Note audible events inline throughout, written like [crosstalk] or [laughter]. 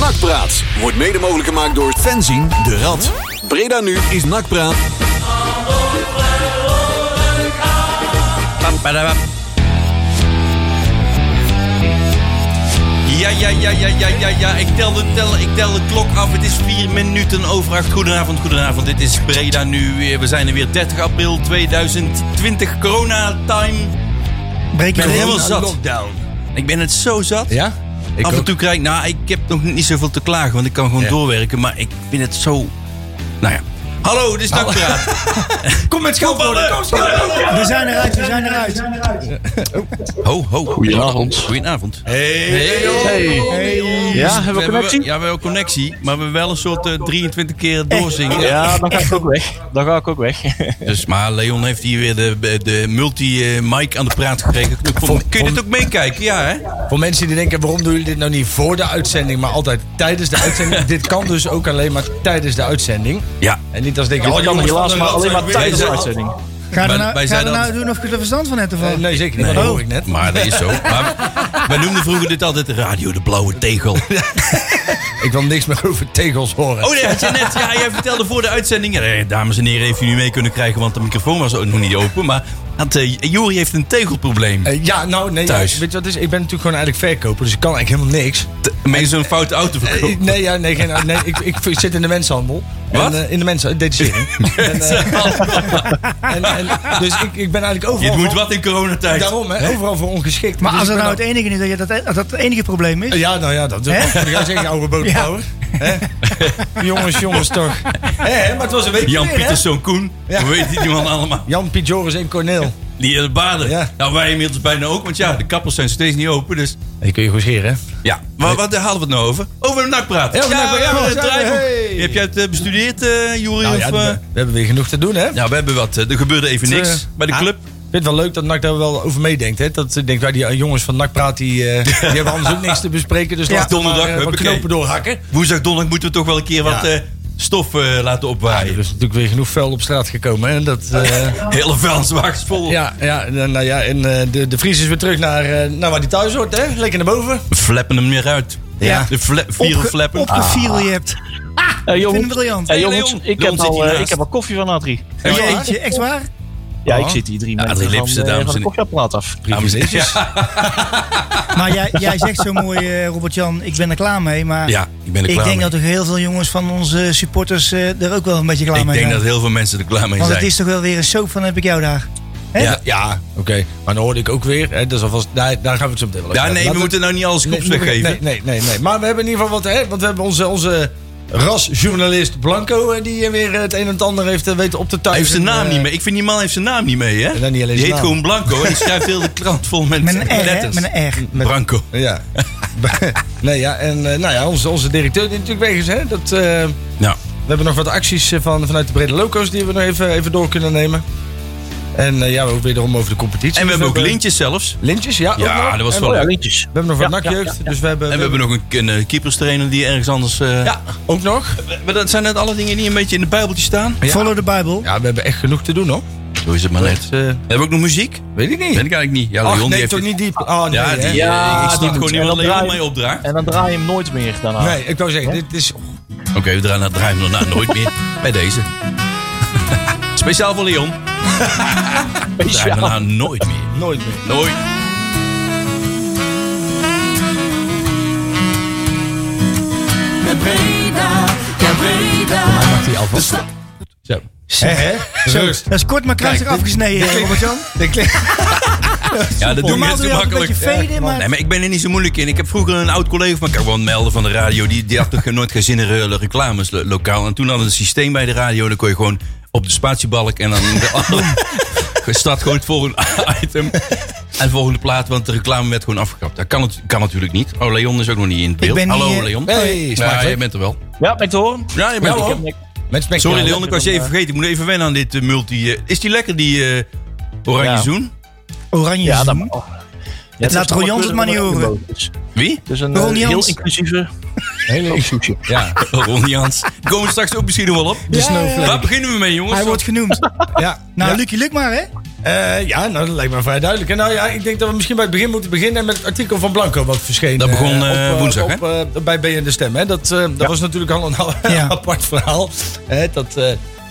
Nakpraat wordt mede mogelijk gemaakt door Fenzien de Rad. Breda nu is Nakpraat. Papadabap. Ja, ja, ja, ja, ja, ja, ja. Ik tel, de, tel, ik tel de klok af. Het is vier minuten over acht. Goedenavond, goedenavond. Dit is Breda nu. We zijn er weer 30 april 2020. Corona time. Breek Ik ben er helemaal zat. Ik ben het zo zat. Ja? Ik af en ook. toe krijg ik... Nou, ik heb nog niet zoveel te klagen. Want ik kan gewoon Ja. doorwerken. Maar ik vind het zo... Nou ja. Hallo, dit is Nakpraat. [laughs] Kom met Voetballen. We zijn eruit, we zijn eruit. Ho, ho. Goedenavond. Goedenavond. Ja, hebben we hebben connectie? ja, we hebben wel connectie, maar we hebben wel een soort eh, 23 keer doorzingen. Ja, dan ga ik ook weg. Dan ga ik ook weg. Dus, maar Leon heeft hier weer de, de multi-mic aan de praat gekregen. Ik vond- Vond- kun je dit ook meekijken? Ja, hè? Voor mensen die denken, waarom doen jullie dit nou niet voor de uitzending, maar altijd tijdens de uitzending. dit kan dus ook alleen maar tijdens de uitzending. Ja. En niet als denken, Dit oh kan jongens, helaas van maar de alleen maar Rad zijn tijdens Wij weer de bezig. zijn- uitzending. Ga Wij- er nou, wij ga zijn er dan- nou doen of ik er verstand van heb ervan. Nee, zeker niet. Nee. Dat hoor ik net. Maar dat is zo. Maar we noemden vroeger dit altijd Radio de Blauwe [laughs] Tegel. Ik wil niks meer over tegels horen. Oh nee, had je net. Ja, jij vertelde voor de uitzending. Ja, nee, dames en heren, heeft u nu mee kunnen krijgen, want de microfoon was ook nog niet open. Maar had, eh, Jori heeft een tegelprobleem. Eh, ja, nou nee. Thuis. ja, weet je wat het is? Ik ben natuurlijk gewoon eigenlijk verkoper, dus ik kan eigenlijk helemaal niks. Mee zo'n foute auto verkopen. Ik- Nee, ja, nee, geen, nee ik, ik zit in de mensenhandel. Wat? En, eh, in de mensen, detachering. en, eh, [laughs] en, en, dus ik, ik ben eigenlijk overal. Je moet voor- wat in coronatijd. Daarom, hè, overal voor ongeschikt. Maar Dus als ik dat ben nou het enige is, dat, je dat, dat het enige probleem is. Ja, nou ja, dat wil ik Hè? ga zeggen, oude bootbouwer. Hè? [laughs] jongens, jongens toch. Hè, maar het was een week Jan weer, hè? Pieterszoon Koen. Ja. Hoe weet die man allemaal? Jan Piet Joris en Corneel. Die eh, baden. Ja. Nou, wij inmiddels bijna ook. Want ja, de kappels zijn steeds niet open. Dus Die kun je goed scheren, hè? ja. Maar wat daar halen we het nou over? Over een nakpraat. Ja, over nakpraat. Ja, het ja, draaiboek. hey. Heb jij het eh, bestudeerd, eh Juri? Nou of, ja, eh? we, we hebben weer genoeg te doen, hè? nou, we hebben wat. eh, Er gebeurde even Het, niks eh, bij de ah, club. Ik vind het wel leuk dat NAC daar wel over meedenkt. Hè? Dat eh, denkt, wij die eh, jongens van NAC praat, [laughs] die, eh, die hebben anders ook niks te bespreken. Dus laten we donderdag, maar, eh, wat huppakee. knopen doorhakken. Woensdag, donderdag moeten we toch wel een keer wat Ja. eh, stof eh, laten Ja, opwaaien. er is natuurlijk weer genoeg vuil op straat gekomen. Hè? En Dat, [laughs] eh, Hele vuilniswagens vol. ja, ja, en, eh, nou ja, en eh, de, de Vries is weer terug naar, eh, naar waar die thuis hoort. Hè? Lekker naar boven. We flappen hem weer uit. Ja. De fla- vieren Opge, flappen. Ah. opgeviel je hebt. Hey, Ik vind jongens, het briljant. hey, Leon. jongens, eh, ik, Leon heb zit al, eh, hiernaast. ik heb al koffie van Adrie. Ja, maar- Jeetje, echt waar? Ja, Oh. ik zit hier drie Adrie minuten Lipsen, van, eh, dames van en de koffieapparaat af. Dames en heren. Ja, Maar jij, jij zegt zo mooi, eh, Robert-Jan, ik ben er klaar mee. Maar ja, ik ben er ik klaar denk mee. dat er heel veel jongens van onze supporters eh, er ook wel een beetje klaar ik mee denk zijn. dat heel veel mensen er klaar mee Want het zijn. is toch wel weer een soap van heb ik jou daar. Hè? Ja. Ja, oké. Maar dan hoorde ik ook weer. Hè, dus alvast, daar, daar gaan we het zo meteen wel over Ja, hebben. nee, we Laten moeten nou niet alles kops Nee, weggeven. Nee, nee, nee, nee. Maar we hebben in ieder geval wat. Hè, want we hebben onze, onze rasjournalist Blanco. Hè, die eh, weer het een en het ander heeft eh, weten op te Hij tuigen. heeft zijn naam Eh, niet mee. Ik vind die man heeft zijn naam niet mee, hè? En dan niet die alleen zijn heet naam. gewoon Blanco en die schrijft heel de krant vol met, Met een R, hè? letters. Met een R. Met- Branco. Ja. [laughs] nee, ja. En eh, nou ja, onze, onze directeur die natuurlijk weg is. Hè, dat, eh, Nou, we hebben nog wat acties eh, van, vanuit de Brede Loco's die we nog even, even door kunnen nemen. En eh, ja, we ook wederom over de competitie. en we Dus hebben ook lintjes zelfs. Lintjes, ja. ook nog. Ja, dat was En wel Oh ja, leuk. lintjes. We hebben nog wat Ja, nakjeugd. ja, ja, ja. Dus we hebben, En we hebben nog een, een eh, keeperstrainer die ergens anders... eh, Ja, ook nog. Maar dat zijn net alle dingen die een beetje in de bijbeltje staan. Ja. Follow the Bible. Ja, we hebben echt genoeg te doen hoor. Zo is het maar net. eh, Hebben we ook nog muziek? Weet weet ik niet. ik eigenlijk niet. Ja, Leon Ach, die nee, heeft... toch het- niet diep. Oh, nee, Ja, hè? die, Ja, eh, ik snap dat gewoon moet. niet En wat dan Leon draai- mij opdraagt. En dan draai je hem nooit meer daarna. Nee, ik wou zeggen, dit is... Oké, we draaien dat draaien we daarna nou, nooit meer. Bij deze. [laughs] Speciaal voor [laughs] Leon. We draaien we daarna nooit meer. Nooit meer. Nooit. Mag die Dus- alvast? Zo. Hè, hè? Rust. Dat is kort maar kruisig Kijk, afgesneden, eh, Robert-Jan. Dit klinkt- Ja, dat doe ik Normaal net doe zo je altijd een makkelijk. beetje faden, maar... Nee, maar ik ben er niet zo moeilijk in. Ik heb vroeger een oud collega van elkaar gewoon melden van de radio. Die, die had toch nooit geen zin in eh, reclames lo- lokaal. En toen hadden we een systeem bij de radio. Dan kon je gewoon op de spatiebalk en dan de andere- start gewoon het volgende item. En de volgende plaat, want de reclame werd gewoon afgekapt. Dat kan, het, kan natuurlijk niet. Oh, Leon is ook nog niet in het beeld. ben niet, Hallo, eh, Leon. Hey, ja, smakelijk. jij bent er wel. Ja, ben ik te horen? Ja, je bent er ik wel. heb, Met spek- Sorry, ja, Leon, ik was je even vergeten. Ik moet even wennen aan dit eh, multi... eh, is die lekker, die eh, oranje Ja. zoen? Oranje ja, dat zoen. oh. Ja, laat is Royan het maar niet allemaal horen. Het is- Wie? het is een Ron eh, heel Jans. inclusieve Hele soepje. Ja, [laughs] Ron Jans. Komen we straks ook misschien nog wel op. De snowflake. Waar beginnen we mee, jongens? Hij wordt genoemd. Ja. Nou, Ja. Lucky Luc maar, hè? Eh, ja, nou, dat lijkt me vrij duidelijk. En nou ja, ik denk dat we misschien bij het begin moeten beginnen met het artikel van Blanco wat verscheen. Dat eh, begon, eh, op, eh, woensdag, hè? op, eh, bij BN De Stem, hè. Dat, eh, dat was natuurlijk al een, [laughs] Ja. apart verhaal. Hè, dat, eh,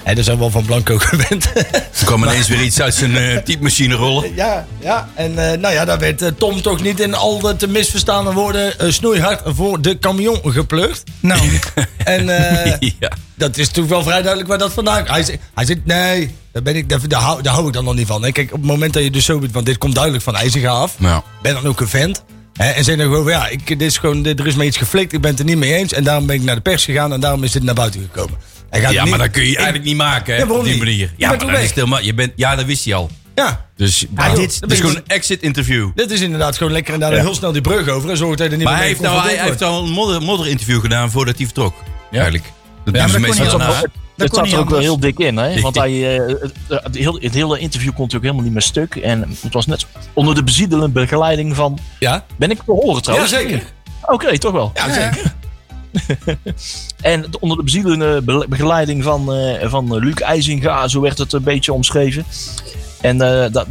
hè, daar zijn we wel van Blanco [laughs] gewend. Er kwam ineens weer iets uit zijn eh, typemachine rollen. ja, ja. En eh, nou ja, daar werd eh, Tom toch niet in al de te misverstaande woorden eh, snoeihard voor de camion geplukt. [laughs] Nou, En eh, ja. dat is natuurlijk wel vrij duidelijk waar dat vandaan Hij zegt, hij zegt nee, daar, ben ik, daar, daar hou, daar hou ik dan nog niet van. Hè. Kijk, op het moment dat je dus zo bent, want dit komt duidelijk van IJzega af. Nou, ben dan ook een vent. Hè, en zei dan gewoon, ja, ik, dit is gewoon, dit, er is me iets geflikt, ik ben het er niet mee eens. En daarom ben ik naar de pers gegaan en daarom is dit naar buiten gekomen. Hij gaat ja niet- maar dat kun je Ik- eigenlijk niet maken hè, Ja, waarom op die niet? manier. Je Ja, bent maar al dat is weg. helemaal, je bent, ja, dat wist hij al. Ja, Dus dit joh, dat is ben gewoon ik- een exit interview. dit is inderdaad gewoon lekker en daar heel snel die brug over en zorgt dat er niet Maar meer hij heeft, nou, hij, hij heeft geconfronteerd al een modder, modderinterview gedaan voordat hij vertrok. Eigenlijk. Dat maar doen ze dat kon meestal hij ook daarna. wel. Dat kon zat niet er ook wel anders. heel dik in, hè? Want hij, [laughs] eh, het, het hele, het hele interview kon natuurlijk helemaal niet meer stuk. En het was net zo- onder de beziedelende begeleiding van. nou, Ja, Ben ik te horen ja trouwens? zeker. Oké, toch wel. Ja, zeker. En de- onder de beziedelende be- begeleiding van, eh, van eh, Luc IJzinga, zo werd het een beetje omschreven. En eh, dat,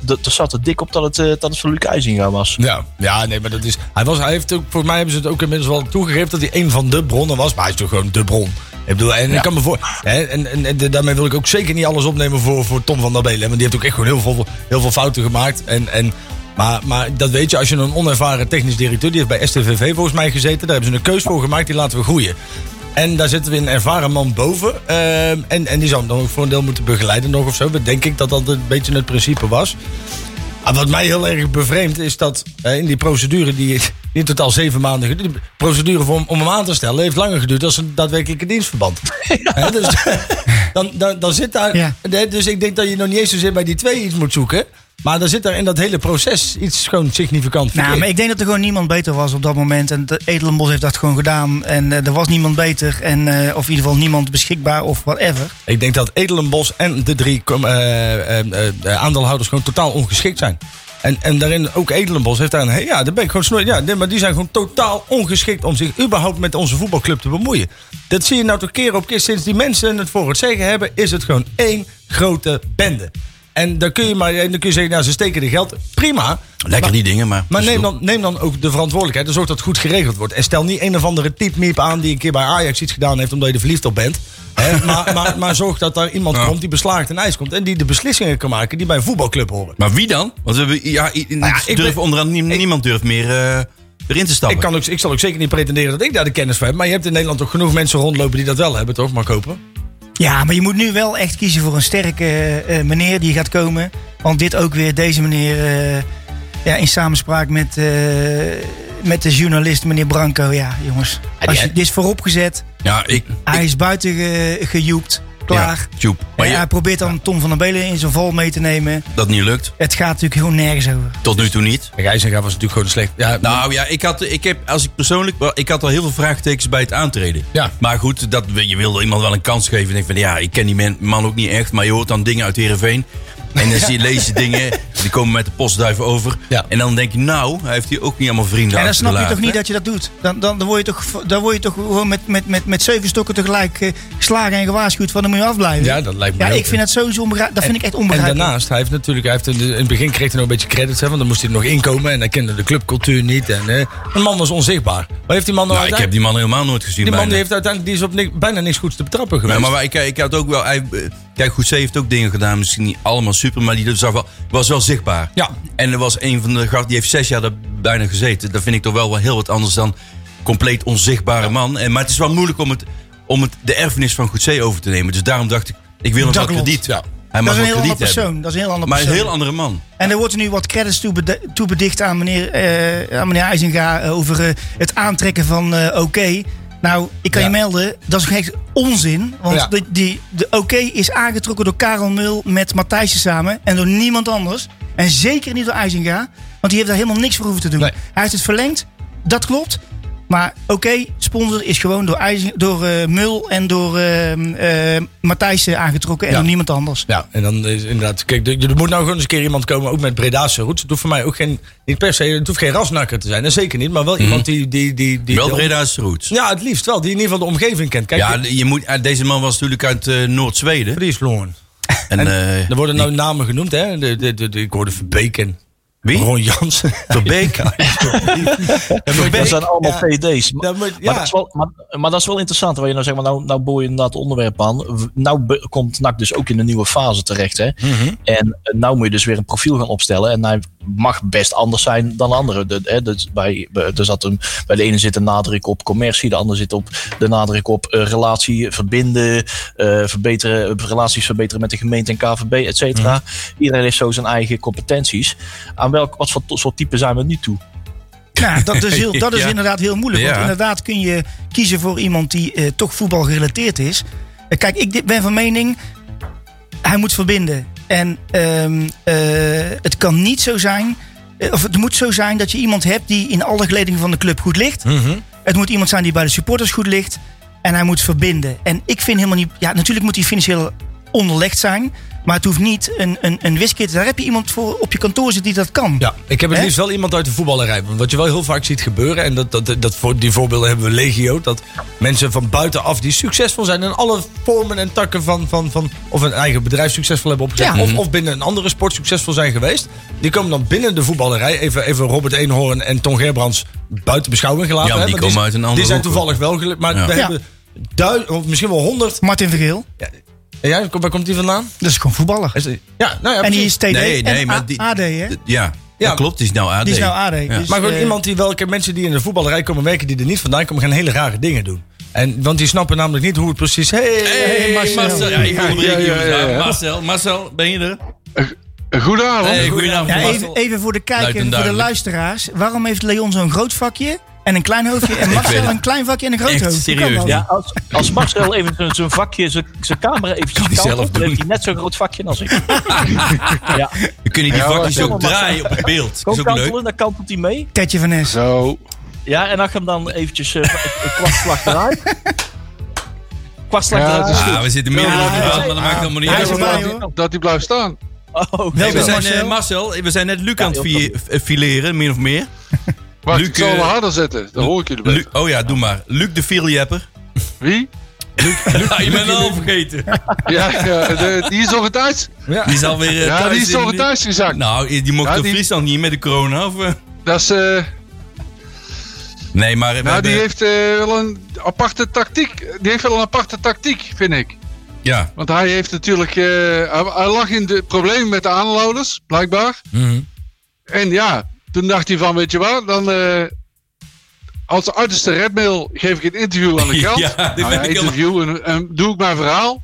dat, er zat er dik op dat het, eh, dat het van Luc IJzinga was. Ja, ja, nee, maar dat is... Hij was, hij heeft ook, volgens mij hebben ze het ook inmiddels wel toegegeven dat hij een van de bronnen was. Maar hij is toch gewoon de bron. Ik bedoel, en ik kan me voor... Hè, en en, en de- daarmee wil ik ook zeker niet alles opnemen voor, voor Tom van der Belen. hè, Want die heeft ook echt gewoon heel veel, heel veel fouten gemaakt. En, en, maar, maar dat weet je, als je een onervaren technisch directeur... die heeft bij STVV volgens mij gezeten. Daar hebben ze een keus voor gemaakt, die laten we groeien. En daar zitten we een ervaren man boven. ehm, en, en die zou hem dan ook voor een deel moeten begeleiden nog of zo. Denk ik dat dat een beetje het principe was. Ah, wat mij heel erg bevreemdt is dat eh, in die procedure, die [laughs] die in totaal zeven maanden geduurd, de procedure om, om hem aan te stellen, heeft langer geduurd dan zijn daadwerkelijke [laughs] dienstverband. Hè, dus, [laughs] dan, dan, dan zit daar, Ja. hè, dus ik denk dat je nog niet eens zozeer bij die twee iets moet zoeken, maar dan zit daar in dat hele proces iets gewoon significant Nou, maar verkeerd. ik denk dat er gewoon niemand beter was op dat moment. En de Edelenbos heeft dat gewoon gedaan. En eh, er was niemand beter. En, eh, of in ieder geval niemand beschikbaar of whatever. Ik denk dat Edelenbos en de drie com- eh, eh, eh, eh, aandeelhouders gewoon totaal ongeschikt zijn. En, en daarin ook Edelenbos heeft daar een... he- Ja, daar ben ik gewoon snoei. Ja, nee, maar die zijn gewoon totaal ongeschikt om zich überhaupt met onze voetbalclub te bemoeien. Dat zie je nou toch keer op keer. Sinds die mensen het voor het zeggen hebben, is het gewoon één grote bende. En dan kun je, maar, en dan kun je zeggen, nou, ze steken de geld. Prima. Nou, Lekker die dingen, maar... Maar neem dan, neem dan ook de verantwoordelijkheid en zorg dat het goed geregeld wordt. En stel niet een of andere typmiep aan die een keer bij Ajax iets gedaan heeft omdat je er verliefd op bent. [laughs] Hè, maar, maar, maar zorg dat daar iemand Ja. komt die beslaagd en ijs komt. En die de beslissingen kan maken die bij een voetbalclub horen. Maar wie dan? Want we hebben, ja, i- Nou ja, ik durf ben- onderaan, nie- niemand durft meer eh, erin te stappen. Ik, kan ook, ik zal ook zeker niet pretenderen dat ik daar de kennis van heb. Maar je hebt in Nederland toch genoeg mensen rondlopen die dat wel hebben, toch? Maar kopen. Ja, maar je moet nu wel echt kiezen voor een sterke eh, meneer die gaat komen. Want dit ook weer, deze meneer, eh, ja, in samenspraak met, eh, met de journalist, meneer Branco. Ja, jongens. Als je, dit is vooropgezet. ja, ik... Hij is buiten ge, gejoept. Klaar. Ja, tjoep. Maar En je- hij probeert dan Tom van der Belen in zijn val mee te nemen. dat niet lukt. Het gaat natuurlijk heel nergens over. Tot nu toe niet. En Gijzenga was natuurlijk gewoon slecht. Ja, Nou ja, ik had, ik heb, als ik persoonlijk, wel, ik had al heel veel vraagtekens bij het aantreden. Ja. Maar goed, dat, je wilde iemand wel een kans geven. En ik van, ja, ik ken die man, man ook niet echt, maar je hoort dan dingen uit Heerenveen. [laughs] En dan zie je, lees je dingen, die komen met de postduif over. Ja. En dan denk je, nou, hij heeft hier ook niet allemaal vrienden En dan snap je achtergelaten. toch niet dat je dat doet? Dan, dan, dan word je toch, dan word je toch gewoon met, met, met, met zeven stokken tegelijk eh, geslagen en gewaarschuwd van dan moet je afblijven. Ja, dat lijkt me Ja, ook, ik vind hè. Nou, dat sowieso onbegrijpelijk. Dat vind ik echt En onbegrijpelijk. daarnaast, hij heeft natuurlijk, hij heeft in, de- in het begin kreeg hij nog een beetje credits, hè, want dan moest hij er nog inkomen en hij kende de clubcultuur niet. En, eh, een man was onzichtbaar. Maar heeft die man nou Nou, ik heb die man helemaal nooit gezien Die man bijna. die heeft uiteindelijk die is op ni- bijna niks goeds te betrappen geweest. Nee, maar ik, ik had ook wel. hij- eh, Kijk, Goedzee heeft ook dingen gedaan. Misschien niet allemaal super, maar die zag wel, was wel zichtbaar. Ja. En er was een van de gasten, die heeft zes jaar daar bijna gezeten. Dat vind ik toch wel, wel heel wat anders dan compleet onzichtbare man. En, maar het is wel moeilijk om, het, om het, de erfenis van Goedzee over te nemen. Dus daarom dacht ik, ik wil hem Dat wel klopt. krediet. Ja. Hij mag dat is een wel heel ander krediet persoon. hebben. Dat is een heel ander Maar een persoon. heel andere man. En er wordt nu wat credits toebede- toebedicht aan meneer, eh aan meneer IJzinga eh, over eh, het aantrekken van eh, oké. Nou, ik kan Ja. je melden, dat is echt onzin. Want Ja. de, die, de oké is aangetrokken door Karel Mul met Matthijssen samen en door niemand anders. En zeker niet door IJzinga, want die heeft daar helemaal niks voor hoeven te doen. Nee. Hij heeft het verlengd, dat klopt. Maar oké, sponsor is gewoon door, IJzing, door eh, Mul en door eh, eh, Matthijssen aangetrokken en Ja. door niemand anders. Ja, en dan is inderdaad, kijk, er er moet nou gewoon eens een keer iemand komen, ook met Bredaanse roots. Het hoeft voor mij ook geen, niet per se, het hoeft geen rasnakker te zijn. En zeker niet, maar wel iemand die, die, die, die... Mhm. Wel de- Breda's roots. Ja, Ja, het liefst wel, die in ieder geval de omgeving kent. Kijk, ja, je moet, eh, deze man was natuurlijk uit eh, Noord-Zweden. die is verloren. En, eh, Er worden nou namen genoemd, hè? De, de, de, de- ik hoorde Verbeek en wie? Ron Jansen. Verbeek? [laughs] Dat zijn allemaal ja. PD's. Maar, Dat moet- maar, ja. dat is wel, maar, maar dat is wel interessant. Waar je nou zegt, maar nou, nou boor je inderdaad het onderwerp aan. W- Nou be- komt NAC dus ook in een nieuwe fase terecht. Hè? Mhm. En eh, nou moet je dus weer een profiel gaan opstellen. En hij mag best anders zijn dan de andere. De, hè, dus bij, bij- er zat een, bij de ene zit een nadruk op commercie. De andere zit op de nadruk op eh, relatie verbinden. eh, verbeteren, relaties verbeteren met de gemeente en KVB, et cetera. Mhm. Iedereen heeft zo zijn eigen competenties. Aan welk, wat voor to- soort type zijn we nu toe? Nou, dat is, heel, dat is [laughs] Ja. inderdaad heel moeilijk. Ja. Want inderdaad kun je kiezen voor iemand die eh, toch voetbal gerelateerd is. Eh, kijk, ik di- ben van mening, hij moet verbinden. En ehm, eh, het kan niet zo zijn, eh, of het moet zo zijn dat je iemand hebt die in alle geledingen van de club goed ligt. Mhm. Het moet iemand zijn die bij de supporters goed ligt. En hij moet verbinden. En ik vind helemaal niet. Ja, natuurlijk moet hij financieel onderlegd zijn. Maar het hoeft niet een, een, een wiskit. Daar heb je iemand voor op je kantoor zitten die dat kan. Ja, ik heb het Hè? liefst wel iemand uit de voetballerij. Want wat je wel heel vaak ziet gebeuren, en dat, dat, dat, voor die voorbeelden hebben we legio, dat mensen van buitenaf die succesvol zijn in alle vormen en takken van, van, van of een eigen bedrijf succesvol hebben opgezet, Ja. Mhm. of, of binnen een andere sport succesvol zijn geweest, die komen dan binnen de voetballerij, even, even Robert Eenhoorn en Ton Gerbrands buiten beschouwing gelaten. Ja, maar hè, die want komen uit een Die andere zijn hoek, toevallig wel gelukt, maar Ja. we Ja. hebben duizend, of misschien wel honderd. Martin Vergeel, En jij, waar komt die vandaan? dat is gewoon voetballer. Is die- Ja, nou ja, En die precies. is TD Nee, nee, en maar A- die- AD, hè? D- Ja, Ja. dat klopt. Die is nou AD. Die is nou AD. Ja. Dus, Maar gewoon eh, iemand die welke mensen die in de voetballerij komen werken, die er niet vandaan komen, gaan hele rare dingen doen. En, want die snappen namelijk niet hoe het precies. Hey, Hey, Marcel. Ja, ik onderbreek je, Ja, ja, ja, ja. Marcel, Marcel, ben je er? Goedenavond. Hey, goedenavond. Ja, even, Marcel. even voor de Luid en kijker, voor de duidelijk. luisteraars. Waarom heeft Leon zo'n groot vakje en een klein [laughs] hoofdje? En weet Marcel het. een klein vakje en een groot Echt hoofdje? Hoe kan serieus, dat? ja. Als, als Marcel even zijn- zijn vakje, zijn, zijn camera even hij zelf doen. heeft hij net zo'n groot vakje [laughs] als ik. ja, We kunnen die Ja, vakjes Marcel, ook Marcel. draaien op het beeld. Dat kom is ook leuk. kantelen, dan kantelt hij mee. Tetje van Nes. Zo. Ja, en als je hem dan eventjes eh, een kwast vlak draait. Kwast vlak Ja, draait. dat is Ah, we zitten meer op de Ja, baan, ja. maar dat maakt allemaal niet Hij Ja, is uit. dat, erbij, die- hoor. dat die blijft staan. Oh, Wel, nee, We dat- zijn, Marcel. eh, Marcel, we zijn net Luc aan het Ja, fi- eh, fileren, min of meer. Maar Luc, ik zal eh, wel harder zetten. Dan hoor ik jullie Lu- beter. oh ja, doe maar. Luc de Fieljepper. Wie? Ja, je bent al vergeten. Ja, ja, de- die is [laughs] nog thuis. Die is alweer eh, Ja, thuis die is in- nog thuis gezakt. Nou, die mocht Ja, in die- Friesland niet met de corona, of... eh? Dat is, eh, Nee, maar... we nou, hebben- die heeft eh, wel een aparte tactiek. Die heeft wel een aparte tactiek, vind ik. Ja, Want hij heeft natuurlijk. eh, hij, hij lag in de problemen met de aanhouders, blijkbaar. Mhm. En ja, toen dacht hij van, weet je waar, dan. eh, als uiterste redmail geef ik een interview aan [laughs] de krant. Ja, dit Nou vind ik interview en, en doe ik mijn verhaal.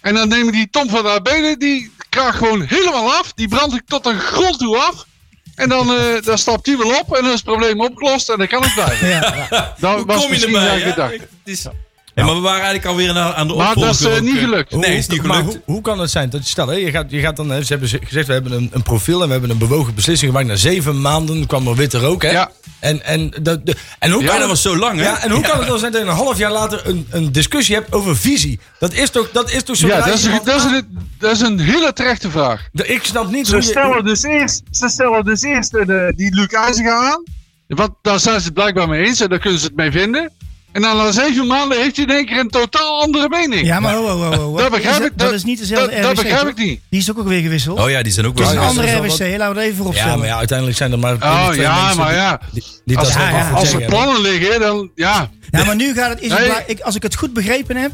En dan neem ik die Tom van der Abelen, die kraag gewoon helemaal af. Die brand ik tot een grond toe af. En dan, eh, dan stapt hij wel op en dan is het probleem opgelost en dan kan ik blijven. Dan hoe kom je misschien erbij? zijn hè? gedachte. Het is- Hey, maar we waren eigenlijk alweer aan de- aan de Maar opvolger. dat is eh, ook, niet eh. gelukt. Nee, is niet Maar gelukt. hoe, hoe kan het zijn? Dat je stel, hè, je, gaat, je gaat dan, hè, ze hebben ze- gezegd, we hebben een, een profiel en we hebben een bewogen beslissing gemaakt. Na zeven maanden kwam er witte rook. Hè? Ja. En, en, dat, de- en hoe Ja, kan dat was zo lang, hè? Ja, en hoe kan het dan zijn dat je een half jaar later een, een discussie hebt over visie? Dat is toch, dat is toch zo Ja, dat is, een- dat, is een, dat is een hele terechte vraag. Ik snap niet Ze hoe je... stellen dus eerst, ze stellen dus eerst eh, die Luc IJziger aan. Want daar zijn ze het blijkbaar mee eens en daar kunnen ze het mee vinden. En dan na zeven maanden heeft hij in één keer een totaal andere mening. Ja, maar ho, ho, ho, ho, ho. dat begrijp Is ik. dat, dat is niet dezelfde dat, RWC. dat begrijp toch? ik niet. Die is ook alweer gewisseld. Oh ja, die zijn ook Het is wel... een ja, andere dat is RWC, wel laten we het even Ja, opstellen. maar ja, uiteindelijk zijn er maar één of Oh twee ja, mensen maar die- ja. Die, die Als, dat ja, wel ja. voor als zeggen er hebben. plannen liggen, dan ja. Ja, maar nu gaat het. Is het Nee. bla- ik, als ik het goed begrepen heb,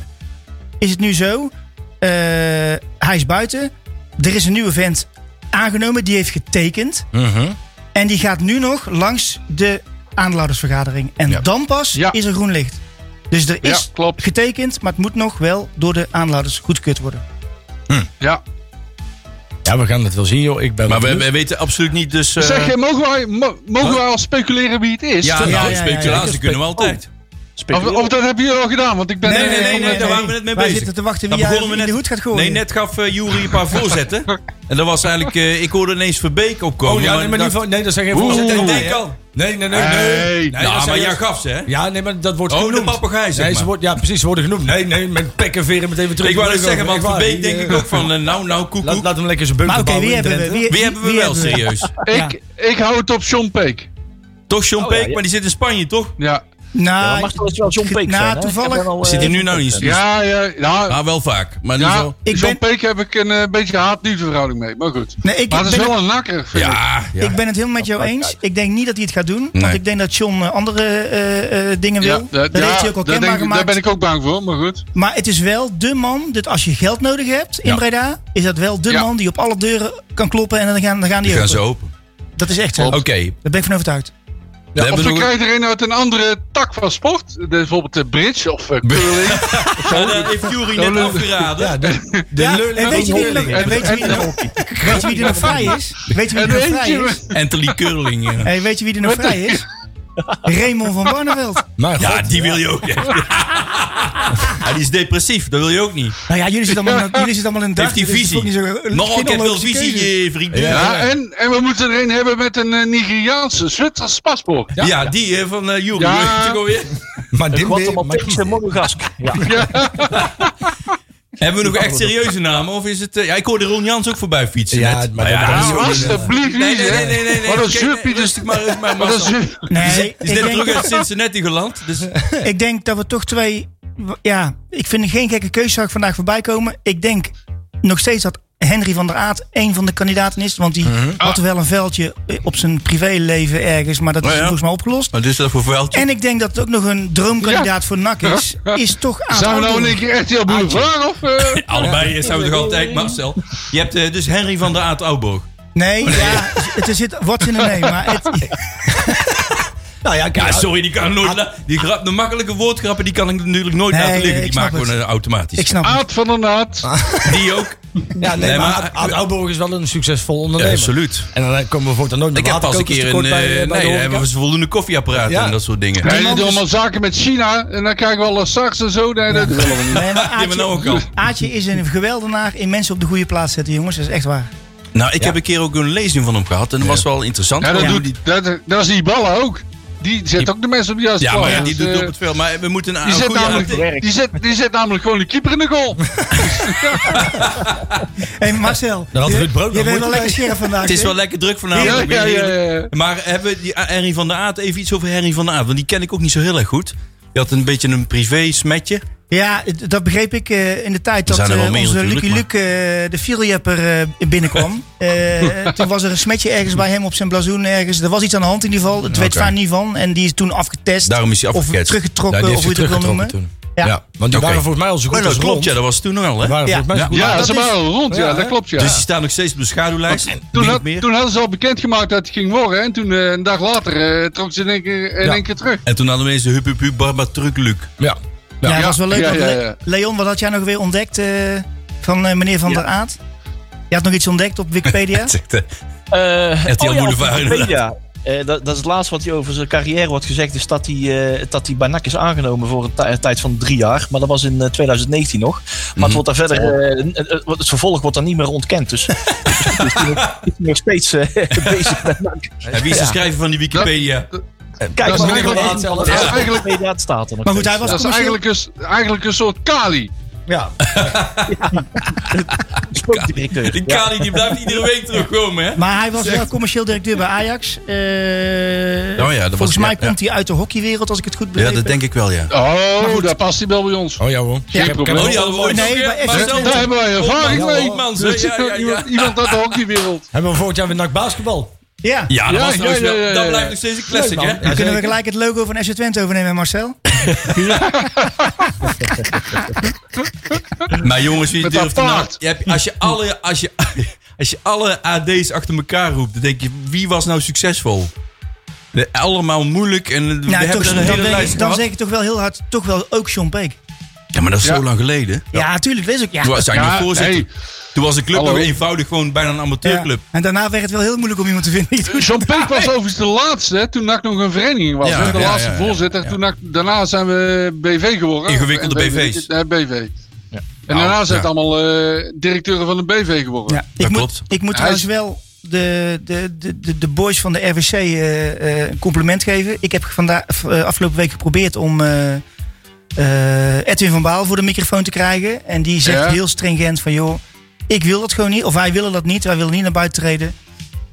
is het nu zo. eh, hij is buiten. Er is een nieuwe vent aangenomen. Die heeft getekend. Mhm. En die gaat nu nog langs de aandeelhoudersvergadering. En dan pas Ja. is er groen licht. Dus er Ja, is klopt. getekend, maar het moet nog wel door de aandeelhouders goedgekeurd worden. ja. Ja, we gaan het wel zien, joh. Ik ben Maar wel we, benieuwd. we weten absoluut niet, dus... eh, Zeg, eh, mogen wij, mo- mogen wij al speculeren wie het is? Ja, Ja, nou, ja, ja, speculatie ja. kunnen we altijd. Of, of dat hebben jullie al gedaan? Want ik ben... Nee, nee, nee, eh, nee, om- daar waren we net mee Wij bezig. zitten te wachten Daar wie jij begonnen we in de net- hoed gaat gooien. Nee, net gaf eh Jury een paar voorzetten. En dat was eigenlijk... eh, ik hoorde ineens Verbeek opkomen. Oh ja, nee, maar maar ik niet dacht- van, nee, dat zijn geen Oeh. voorzetten. Ik Nee, denk al. Nee, nee, nee. nee. Hey. Nee, dat Ja, maar zijn- jij gaf ze, hè? Ja, nee, maar dat wordt Oh, de genoemd. papegaai, zeg nee, maar. Ze wordt, ja, precies, ze worden genoemd. Nee, nee, met pek en veren meteen weer terug. Ik wou net Echt zeggen, want waar, Verbeek die, denk ik eh, ook van... eh, Nou, nou, Laat, koekoek. laat hem lekker zijn bunker maar oké, wie bouwen in hebben we? Wie, Drenthe. Wie hebben we wie wel, hebben we? serieus? Ik, ik hou het op Sean Peek. Toch Sean Oh, ja, Peek, ja. maar die zit in Spanje, toch? Ja. Ja, maar Nou, mag toch wel John ge- Peek nou, zijn, hè? toevallig- Ik heb wel, eh, Zit hij nu John nou Peek niet? fan. Ja, ja, nou, Nou, wel vaak. Maar in ieder ja geval- Ik John ben- Peek heb ik een eh, beetje haat-liefdeverhouding mee. Maar goed. nee, ik, maar ik dat is ben, wel een nakker, vind ik. ja, ja. ik ben het helemaal met jou eens. Ik denk niet dat hij het gaat doen. Want Nee. ik denk dat John eh, andere eh, eh, dingen wil. dat ja, heeft hij ook al kenbaar daar denk ik- Daar gemaakt. ben ik ook bang voor, maar goed. Maar het is wel de man, dat als je geld nodig hebt in Ja. Breda, is dat wel de Ja. man die op alle deuren kan kloppen en dan gaan, dan gaan die Die gaan open. ze open. Dat is echt zo. Oké. Daar ben ik van overtuigd. we of hebben we nog- krijgen er een uit een andere tak van sport. De- Bijvoorbeeld de [laughs] bridge of eh, curling. Ja, dat heeft Jury net afgeraden. Ja, de, de Ja, lul- en weet je wie er nog- en En- weet je wie er nog- weet je wie er nog vrij is? Weet je wie en er nog vrij eentje is? met- Anthony Curling. ja. Hey, weet je wie er nog vrij is? Raymond van Barneveld. Mijn god. Ja, die wil je ook. Ja. Ja, die is depressief, dat wil je ook niet. Nou ja, jullie zitten allemaal, [laughs] jullie zitten allemaal in dus Heeft dag. die visie. Nog een keer veel visie, eh, vriend. Ja, Ja, en, en we moeten er een hebben met een eh, Nigeriaanse, Zwitsers paspoort. die eh, van eh Jury. Ja. Hoe heet die ook alweer? Maar dit Wat een maar die- Maltese Monegask. Ja. Hebben we nog echt serieuze namen? Of is het... eh, ja, ik hoorde Ron Jans ook voorbij fietsen Ja, net. maar dat- ja, dat is- Nou, alsjeblieft Nee, niet, nee, hè. nee, nee, nee, nee. Wat een Oké, zuppie. dus- Rustig maar, rustig maar, Wat een Marcel. zup- Nee, Die is ik net terug uit denk, Cincinnati geland. Dus, ik denk dat we toch twee... Ja, ik vind geen gekke keuze zag ik vandaag voorbij komen. Ik denk nog steeds dat Henry van der Aat een van de kandidaten is. Want die Mhm. had Ah. wel een veldje op zijn privéleven ergens. Maar dat is Oh ja. volgens mij opgelost. maar dus dat voor vuiltje. En ik denk dat het ook nog een droomkandidaat voor NAC is. Is [laughs] toch Ah, Aad Zijn we nou in Oudeloer. één keer RTL Boulevard of... eh, Allebei eh, zijn we toch altijd, Marcel. Je hebt eh, dus Henry van der Aad Oudborg. Nee, ja, het is het wat in de nee, maar het, Nou ja, kijk, Ja, Ah, sorry, die kan ik nooit. la- Die grap, de makkelijke woordgrappen die kan ik natuurlijk nooit Nee, laten liggen. ik Die snap maken we het. eh, automatisch. ik snap het. Aad van der Naad. Ah, Die ook. Ja, nee, Nee, maar, maar- Aad Ouborg is wel een succesvol ondernemer. absoluut. En dan komen we voortaan nooit meer Ik heb pas een keer een. eh, bij, nee, eh, bij de daar hebben horeca. we voldoende koffieapparaten Ja. en dat soort dingen. Hij Die doet anders- allemaal zaken met China. En dan krijgen we alle straks en zo. Nee, dat willen we Nee, niet. maar hebben we Aadje, nou ook al. Aadje is een geweldenaar in mensen op de goede plaats zetten, jongens. Dat is echt waar. Nou, ik heb een keer ook een lezing van hem gehad en dat was wel interessant. Ja, dat, Ja, doet, dat, dat is die ballen ook. Die zet ook de mensen op de juiste maar plaats. ja, die Dus, doet eh, op het veld. Maar we moeten een die zet, goede aanti- namelijk, die, zet, die zet namelijk gewoon de keeper in de goal. hey, Nou, Marcel, Daar had je, Ruud Brood nog je bent moeten wel bij. lekker scherp vandaag. Het is hè? wel lekker druk Ja, vanavond. ja, ja, ja. Maar hebben we die A- Henry van der Aad even iets over Henry van der Aad? Want die ken ik ook niet zo heel erg goed. Die had een beetje een privé smetje. Ja, het- dat begreep ik eh, in de tijd dat zijn er wel eh, meer onze natuurlijk, Lucky maar- Luke, eh, de vieljepper, [laughs] eh, binnenkwam. Eh, toen was er een smetje ergens bij hem op zijn blazoen ergens. Er was iets aan de hand in ieder geval. Het weet Oké. vaak niet van. En die is toen afgetest. Daarom is hij of afgeketst. teruggetrokken, of hoe je het ook wil noemen. Ja. Ja. want die Oké. waren volgens mij al zo goed Maar als dat klopt, rond. ja, dat was toen nog wel, hè? Die waren Ja. volgens mij zo goed Ja, als- ze waren al rond. Ja, Ja, dat hè? klopt. Ja. Dus die staan nog steeds op de schaduwlijst. toen, Niet had- meer. toen hadden ze al bekendgemaakt dat hij ging worden. hè. En toen eh, een dag later eh, trok ze in één keer, in Ja. één keer terug. En toen hadden we eens de hup hup hup barbatruc Luc. Ja. Ja, dat was wel leuk. Ja, want ja, Le- ja. Leon, wat had jij nog weer ontdekt eh, van eh, meneer Van der Aat? Je had nog iets ontdekt [laughs] op Wikipedia? Zegt, eh, Eh, RTL oh ja, Boulevard, op Wikipedia. Eh, dat, dat is het laatste wat hij over zijn carrière wordt gezegd. Is dat hij, eh, dat hij bij NAC is aangenomen voor een, ti- een tijd van drie jaar. Maar dat was in eh, 2019 nog. Maar Mhm. het, wordt daar verder, eh, n- eh, het vervolg wordt dan niet meer ontkend. Dus, [laughs] dus hij is nog- nog steeds eh, [laughs] bezig met NAC. en wie is de schrijver van die Wikipedia? Kijk, is maar meneer Van eigenlijk- Aert zelf. dat Ja. is eigenlijk... Ja, het staat er nog Maar goed, steeds. hij was Dat is commercieel- eigenlijk een, s- eigenlijk een soort Kali. Ja. Spookdirecteur. Die Kali die blijft iedere week terugkomen, hè? Maar hij was Zeg. wel commercieel directeur bij Ajax. Eh, was- Oh ja, volgens mij ja, komt hij uit de hockeywereld, als ik het goed Ja, begrijp. dat denk ik wel, ja. Oh, daar past hij wel bij ons. Oh ja hoor. Geen probleem. Oh, die hadden we ooit Nee, nog, hè? maar echt- Maar zelfs- Daar hebben wij ervaring Oh, mee. man, Dus [laughs] zeg, ja, ja, ja. Iemand, iemand uit de hockeywereld. Hebben we vorig jaar weer NAC basketbal. Ja. Ja, dat, Ja, was ja, trouwens ja, wel- ja, ja, dat ja. blijft nog steeds een classic, Leuk, man. hè? Ja, Kunnen we zeker. gelijk het logo van SC Twente overnemen, Marcel? Maar jongens, wie Met durft er nou... apart. Je hebt- als, je alle, als, je, [laughs] als je alle AD's achter elkaar roept, dan denk je, wie was nou succesvol? De, allemaal moeilijk en we hebben Nou, toch- er dan, een hele ben ik- lijst dan gehad. zeg ik toch wel heel hard, toch wel ook John Peek. Ja, maar dat is Ja. zo lang geleden. Ja, tuurlijk, dat is ook. Ja. Toen was hij nog Ja, voorzitter. nee. Toen was de club Hallo. nog eenvoudig gewoon bijna een Ja. amateurclub. En daarna werd het wel heel moeilijk om iemand te vinden. die het goed- John Peek Dus was overigens de laatste, hè, toen NAC nog een vereniging was. Ja, hè, de ja, laatste ja, ja, voorzitter. Toen NAC- daarna zijn we BV geworden. Ingewikkelde En BV's. eh, BV. En Nou, daarna zijn ja. het allemaal eh, directeuren van de BV geworden. Ja, ik, klopt. moet, ik moet Hij is- trouwens wel de, de, de, de- de boys van de RWC eh, eh, een compliment geven. Ik heb vandaag, eh, afgelopen week geprobeerd om eh, eh, Edwin van Baal voor de microfoon te krijgen. En die zegt Ja. heel stringent van joh, ik wil dat gewoon niet. Of wij willen dat niet, wij willen niet naar buiten eh, treden.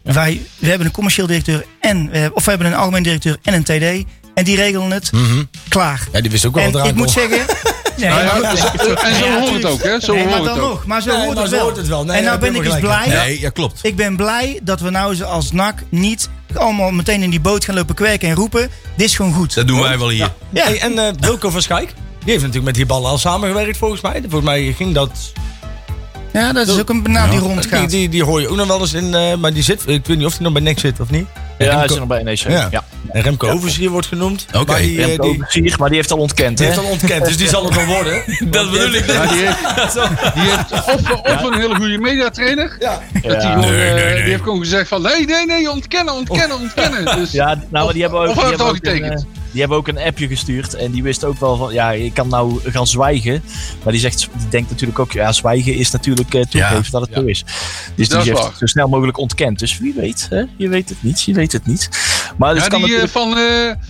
Wij, we hebben een commercieel directeur en, we hebben- of we hebben een algemeen directeur en een TD. En die regelen het. Mhm. Klaar. Ja, die wist ook wel En wat eraan ik moet komt. [laughs] zeggen... Nee, Nou ja, maar- dus- en zo hoort het ook, hè? Zo nee, maar hoort dan het ook. nog. Maar zo Nee, hoort, maar het zo wel. hoort het wel. Nee, en nou daar heb ben je ik dus helemaal blij. gelijk Ja, ja klopt. Ik ben blij dat we nou eens als NAC niet allemaal meteen in die boot gaan lopen kwerken en roepen. Dit is gewoon goed. Dat doen wij wel hier. Ja. Hey, en eh, Wilco van Schaik, die heeft natuurlijk met die ballen al samengewerkt volgens mij. Volgens mij ging dat... Ja, dat is ook een naam die rondgaat. Die, die, die hoor je ook nog wel eens in, eh, maar die zit... Ik weet niet of die nog bij NEC zit of niet. En Ja, hij Remco- zit nog bij NEC. Ja. Ja. en Remco Overzier wordt genoemd. Oké. maar die, eh, Remco die, Overzier, maar die heeft al ontkend, die hè? heeft al ontkend, dus die zal het wel [laughs] worden. dat bedoel ik dus. Ja, die heeft, die heeft of, of een hele goede mediatrainer. Dat die, Ja. gewoon, eh, nee. Oh. die heeft gewoon gezegd van nee, nee, nee, ontkennen, ontkennen, ontkennen. Dus, Ja, nou, maar die hebben ook, of die had het hebben al ook een, getekend? eh, die hebben ook een appje gestuurd. En die wist ook wel van, ja, ik kan nou gaan zwijgen. Maar die, zegt, die denkt natuurlijk ook, ja, zwijgen is natuurlijk eh toegeven Ja. dat het zo is. Dus Dat die is heeft waar. het zo snel mogelijk ontkend. Dus wie weet, hè? je weet het niet, je weet het niet. Maar dus ja, kan die, eh, natuurlijk, van, eh,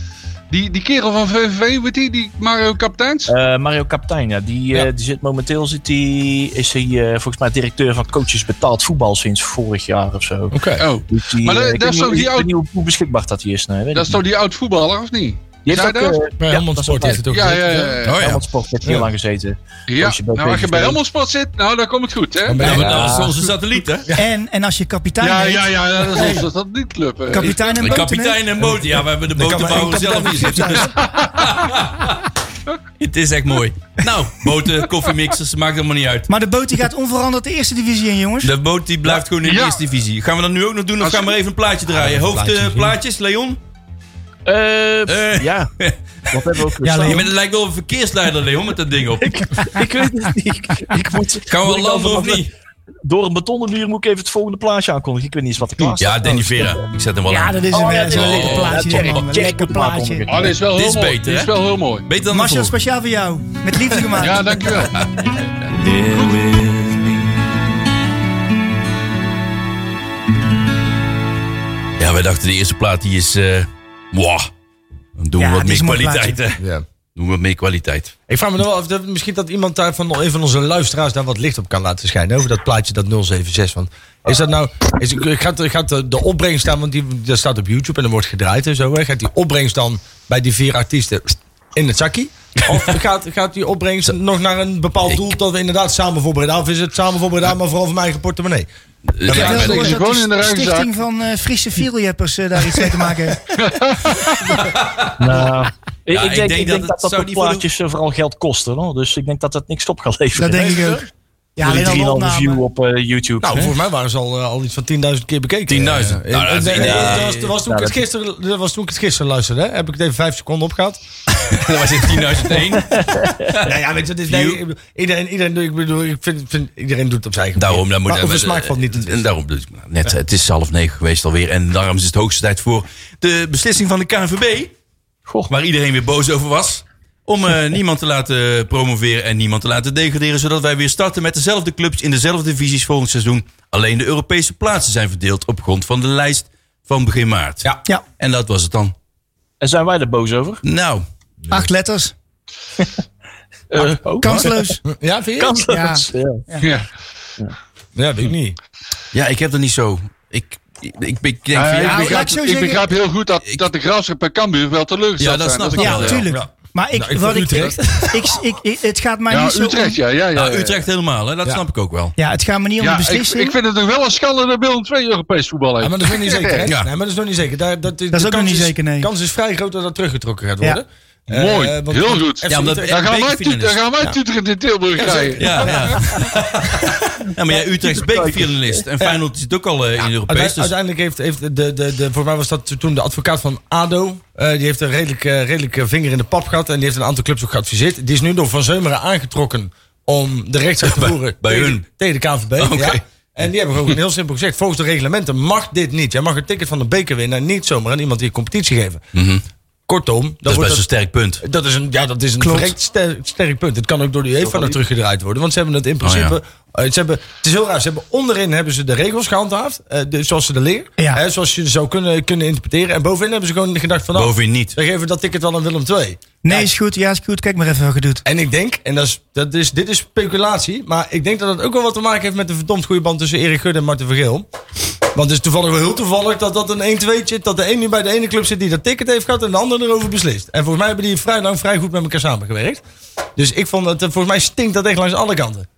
die, die kerel van VVV, weet die, die Mario Kapteins. eh, Mario Kaptein, ja, die, eh, die zit momenteel zit die, is hij eh, volgens mij directeur van coaches betaald voetbal sinds vorig jaar of zo. Oh, Dus die, Maar eh, dat- ik dat weet is niet- toch die ik weet oud- niet hoe- hoe beschikbaar dat die is. Nee, weet ik dat is niet. toch die oud voetballer, of niet? Die heeft Zij ook, dat? eh, Bij ja, Helmond dat is Sport heeft het ook Ja, gezeten. ja, ja. ja. Oh ja. Helmond Sport heeft heel Ja. lang gezeten. Ja, Als je bij nou als je bij VVV Helmond Sport zit, nou dan komt het goed, hè? Dan ben Ja, je- maar dat is onze satelliet, hè? En, en als je kapitein Ja, heet, ja, ja, ja, dat is dat, dat niet club. eh. Kapitein en De boten, hè? kapitein en boot. Ja, we hebben de botenbouwer zelf hier zitten. [laughs] Het is echt mooi. Nou, boten, koffiemixers, maakt helemaal niet uit. Maar de boot die gaat onveranderd de eerste divisie in, jongens. De boot die blijft gewoon in de Ja. eerste divisie. Gaan we dat nu ook nog doen of Als- gaan we even een plaatje draaien? plaatje Hoofdplaatjes, zien. plaatjes, Leon? Eh, Eh. ja. Wat hebben we ook Ja, ja, Je bent, lijkt wel een verkeersleider, Leon, met dat ding op. Ik weet het niet. Ik, ik moet, Gaan we wel moet ik landen of altijd- niet? Door een betonnen muur moet ik even het volgende plaatje aankondigen. Ik weet niet eens wat ik klaar Ja, Danny Vera. Ik zet hem wel Ja, aan. dat is een, Oh, ja, dat is een oh, lekker oh, plaatje. Jerry, zeg maar. Jerry lekker moet hem plaatje. aankondigen. Oh, dit is wel Dit heel is mooi. beter, dit is hè? wel heel mooi. Beter dan de Marcel, vorige. speciaal voor jou. Met [laughs] liefde gemaakt. Ja, dankjewel. Bear with me. Ja, wij dachten de eerste plaat die is... eh wow. Dan doen we Ja, wat die meer is een mooi kwaliteit, hè? Ja. Doen we wat meer kwaliteit. [laughs] Ik vraag me nog wel af, dat, misschien dat iemand daar van een van onze luisteraars daar wat licht op kan laten schijnen. Over dat plaatje, dat 076. Want is dat nou. Is, gaat gaat de, de opbrengst dan, want die, dat staat op YouTube en er wordt gedraaid en zo. Hè, gaat die opbrengst dan bij die vier artiesten in het zakkie? [laughs] Of gaat, gaat die opbrengst nog naar een bepaald doel dat we inderdaad samen voorbereiden? Of is het samen voorbereiden, maar vooral voor mijn eigen portemonnee? Eh, Ik heb wel Ja, gehoord ze dat dus gewoon die in de ruimte stichting van eh, Friese vierjeppers eh, daar iets mee te maken [laughs] heeft. Nou, ik, Ja, ik denk, ik denk dat dat, zou de die voor de- plaatjes eh, vooral geld kosten. Hoor. Dus ik denk dat dat niks op gaat leveren. Dat denk ik ook. Ja, Voor die alleen al de 3,5 view opname. op eh, YouTube. Nou, hè? volgens mij waren ze al, eh, al iets van 10.000 keer bekeken. 10.000. Eh, Nou, eh, dat is- eh, ja. dat was- dat was toen ik het gisteren- dat was toen ik het gisteren luisterde. Hè? Heb ik het even 5 seconden opgehaald? Dat was in 10.001. [laughs] Nou ja, weet je, dat is View. nee, ik bedoel, iedereen, iedereen, doet- ik bedoel, ik vind, vind, iedereen doet het op zijn eigen Daarom, manier. dan moet maar over smaak valt niet te En twisten. daarom, dus, nou, net, het is half negen geweest alweer. En daarom is het hoogste tijd voor de beslissing van de KNVB. Goh. Waar iedereen weer boos over was. Om [laughs] eh, niemand te laten promoveren en niemand te laten degraderen. Zodat wij weer starten met dezelfde clubs in dezelfde divisies volgend seizoen. Alleen de Europese plaatsen zijn verdeeld op grond van de lijst van begin maart. Ja. Ja, En dat was het dan. En zijn wij er boos over? Nou, acht letters. Eh, oh. Kansloos. Ja, vind je? Kansloos. Ja. Ja. Ja, weet ik niet. ja, ik heb er niet zo. Ik, ik, ik, ik denk. Ja, van, Eh, ja, ik, Nou, laat ik begrijp, zo ik zeggen- begrijp heel goed dat, Ik- dat de graafschap en Cambuur wel teleurgesteld Ja, dat zijn. snap ik Ja, wel, ja. tuurlijk. Maar ik, Nou, ik wat ik, vond Utrecht. ik, ik, ik- het gaat mij niet Ja, zo om- Utrecht, ja. ja, ja, nou, Eh, ja. Utrecht helemaal, hè? dat snap ik ook [laughs] wel. Ja, het gaat me niet om Ja, de ik, beslissing. ik vind het nog wel een schande dat Willem II Europees voetbal heeft. Ja, maar dat is nog niet zeker, hè? [laughs] Ja. Nee, maar dat is nog niet zeker. Daar, dat, de is ook nog kans niet zeker, nee. De kans is vrij groot dat dat teruggetrokken gaat Ja. worden. Mooi, Eh, want- heel goed. FC Ja, omdat- Utrecht- dan, gaan wij bekerfinalist. toet- dan gaan wij dus. toeteren in Tilburg krijgen. Ja, ja. [laughs] ja maar ja, Utrecht is bekerfinalist. En Feyenoord zit ook al eh, in Europees. Uiteindelijk, Dus uiteindelijk heeft, heeft de, de, de, voor mij was dat toen de advocaat van ADO. eh, die heeft een redelijk, eh, redelijk eh, vinger in de pap gehad. En die heeft een aantal clubs ook geadviseerd. Die is nu door Van Zeumeren aangetrokken om de rechtszaak te voeren [laughs] bij tegen, hun. tegen de KNVB. Oké. Ja. En die hebben gewoon heel simpel gezegd. Volgens de reglementen mag dit niet. Jij mag een ticket van de bekerwinnaar niet zomaar aan iemand die een competitie geven. Mhm. Kortom, dan dat is wordt best een sterk punt. dat is een, ja, dat is een verrekt ster- sterk punt. Het kan ook door de UEFA naar teruggedraaid worden. Want ze hebben het in principe... Oh eh, ze hebben, het is heel raar. Ze hebben onderin hebben ze de regels gehandhaafd. eh, de- zoals ze de leer. Ja. Hè, zoals je ze zou kunnen, kunnen interpreteren. En bovenin hebben ze gewoon gedacht van... nou, Bovenin niet. Dan geven we dat ticket wel aan Willem II. Nee, is goed. Ja, is goed. Kijk maar even wat je doet. En ik denk, en dat is, dat is, dit is speculatie... maar ik denk dat het ook wel wat te maken heeft... met de verdomd goede band tussen Erik Gudde en Marten Vergeel. Want het is toevallig wel heel toevallig dat dat een 1-2'tje... dat de een nu bij de ene club zit die dat ticket heeft gehad... en de ander erover beslist. En volgens mij hebben die vrij lang vrij goed met elkaar samengewerkt. Dus ik vond dat... eh, Volgens mij stinkt dat echt langs alle kanten.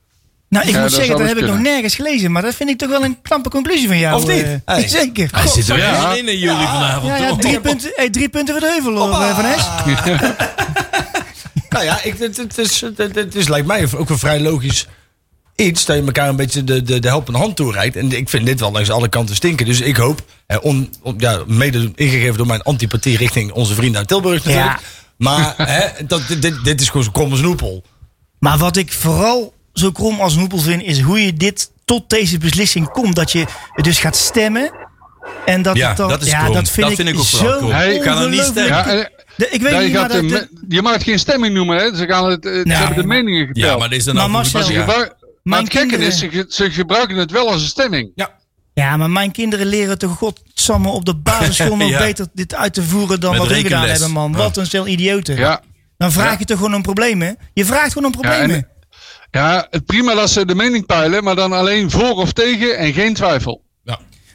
Nou, ik Ja, moet dat zeggen, dat zou dus heb ik nog kunnen. nergens gelezen. Maar dat vind ik toch wel een knappe conclusie van jou. Of niet? eh. Hey. Zeker. Hij zit er Ja. wel in, in jullie vanavond. Ja, ja, hoor. drie, punten, eh, drie punten voor de heuvel, hoor, eh, Van Hes. [laughs] Nou ja, ik, het, het, is, het, het is lijkt mij ook een vrij logisch iets dat je elkaar een beetje de, de, de helpende hand toereikt. En ik vind dit wel langs alle kanten stinken. Dus ik hoop, eh, on, on- ja, mede ingegeven door mijn antipathie richting onze vrienden uit Tilburg natuurlijk. Ja. Maar hè, dat, dit, dit is gewoon zo krom als een hoepel. Maar wat ik vooral zo krom als een hoepel vind, is hoe je dit tot deze beslissing komt. Dat je dus gaat stemmen. En dat Ja, het dan, dat is ja, krom. dat vind Dat ik, vind ik ook vooral zo krom. Hij kan er niet ongelooflijk- stemmen. Ja, en, De- ik weet daar niet, gaat maar dat, de de- me- je mag het geen stemming noemen, hè? Ze, gaan het, eh, ze Nee, hebben de maar- meningen Nou, Ja, geteld. maar dit is dan Maar nou voor de Marcel- ze ja. gebruik- maar het gekke kinderen- is, ze, ge- ze gebruiken het wel als een stemming. ja, maar mijn kinderen leren toch godsamme op de [laughs] basisschool nog Ja. beter dit uit te voeren dan Met wat we gedaan rekenles. hebben, man. Ja. Wat een stel idioten. Ja. Dan vraag Ja. je toch gewoon om problemen? Je vraagt gewoon om Ja, problemen. en, ja, het prima dat ze de mening peilen, maar dan alleen voor of tegen en geen twijfel.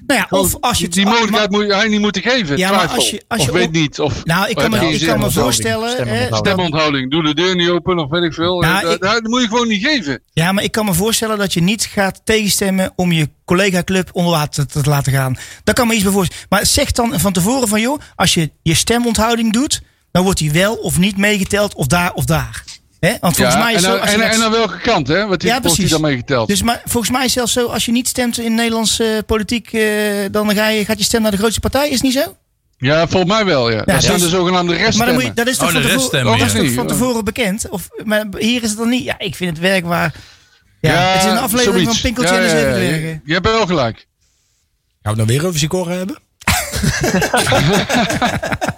nou ja, of als je het- die ah, mogelijkheid moet je hij niet moeten geven. Ja, maar twijfel. als je- als je of weet op- niet. Of, Nou, ik kan of me, heb je ik geen kan me zin. Nou, voorstellen. hè, Stemonthouding. dat- Stemonthouding. Doe de deur niet open of weet ik veel. Ja, Eh, Nou, ik- dat, dat moet je gewoon niet geven. Ja, maar ik kan me voorstellen dat je niet gaat tegenstemmen om je collega-club onder water te te laten gaan. Daar kan me iets bij voorstellen. Maar zeg dan van tevoren van, joh, als je je stemonthouding doet, dan wordt die wel of niet meegeteld of daar of daar. Hè? Want volgens ja, mij is en, zo... aan- Als je en, dat- en aan welke kant, hè? Wat die, Ja, wordt die precies. dan meegeteld? dus maar, volgens mij is zelfs zo, als je niet stemt in Nederlandse eh, politiek, eh, dan ga je, gaat je stem naar de grootste partij. Is het niet zo? ja, volgens mij wel, ja. dat zijn dus- de zogenaamde Maar dan reststemmen. moet je, dat is toch Oh, van de tevoren, reststemmen, dat is ja. toch van Ja. tevoren bekend? Of, maar hier is het dan niet. Ja, ik vind het werk waar... Ja, Ja, het is een aflevering van zoiets. Pinkeltje Ja, en de ja, ja, Zevenbergen. Je, je hebt wel gelijk. Gaan we nou weer over Sikora hebben? Maar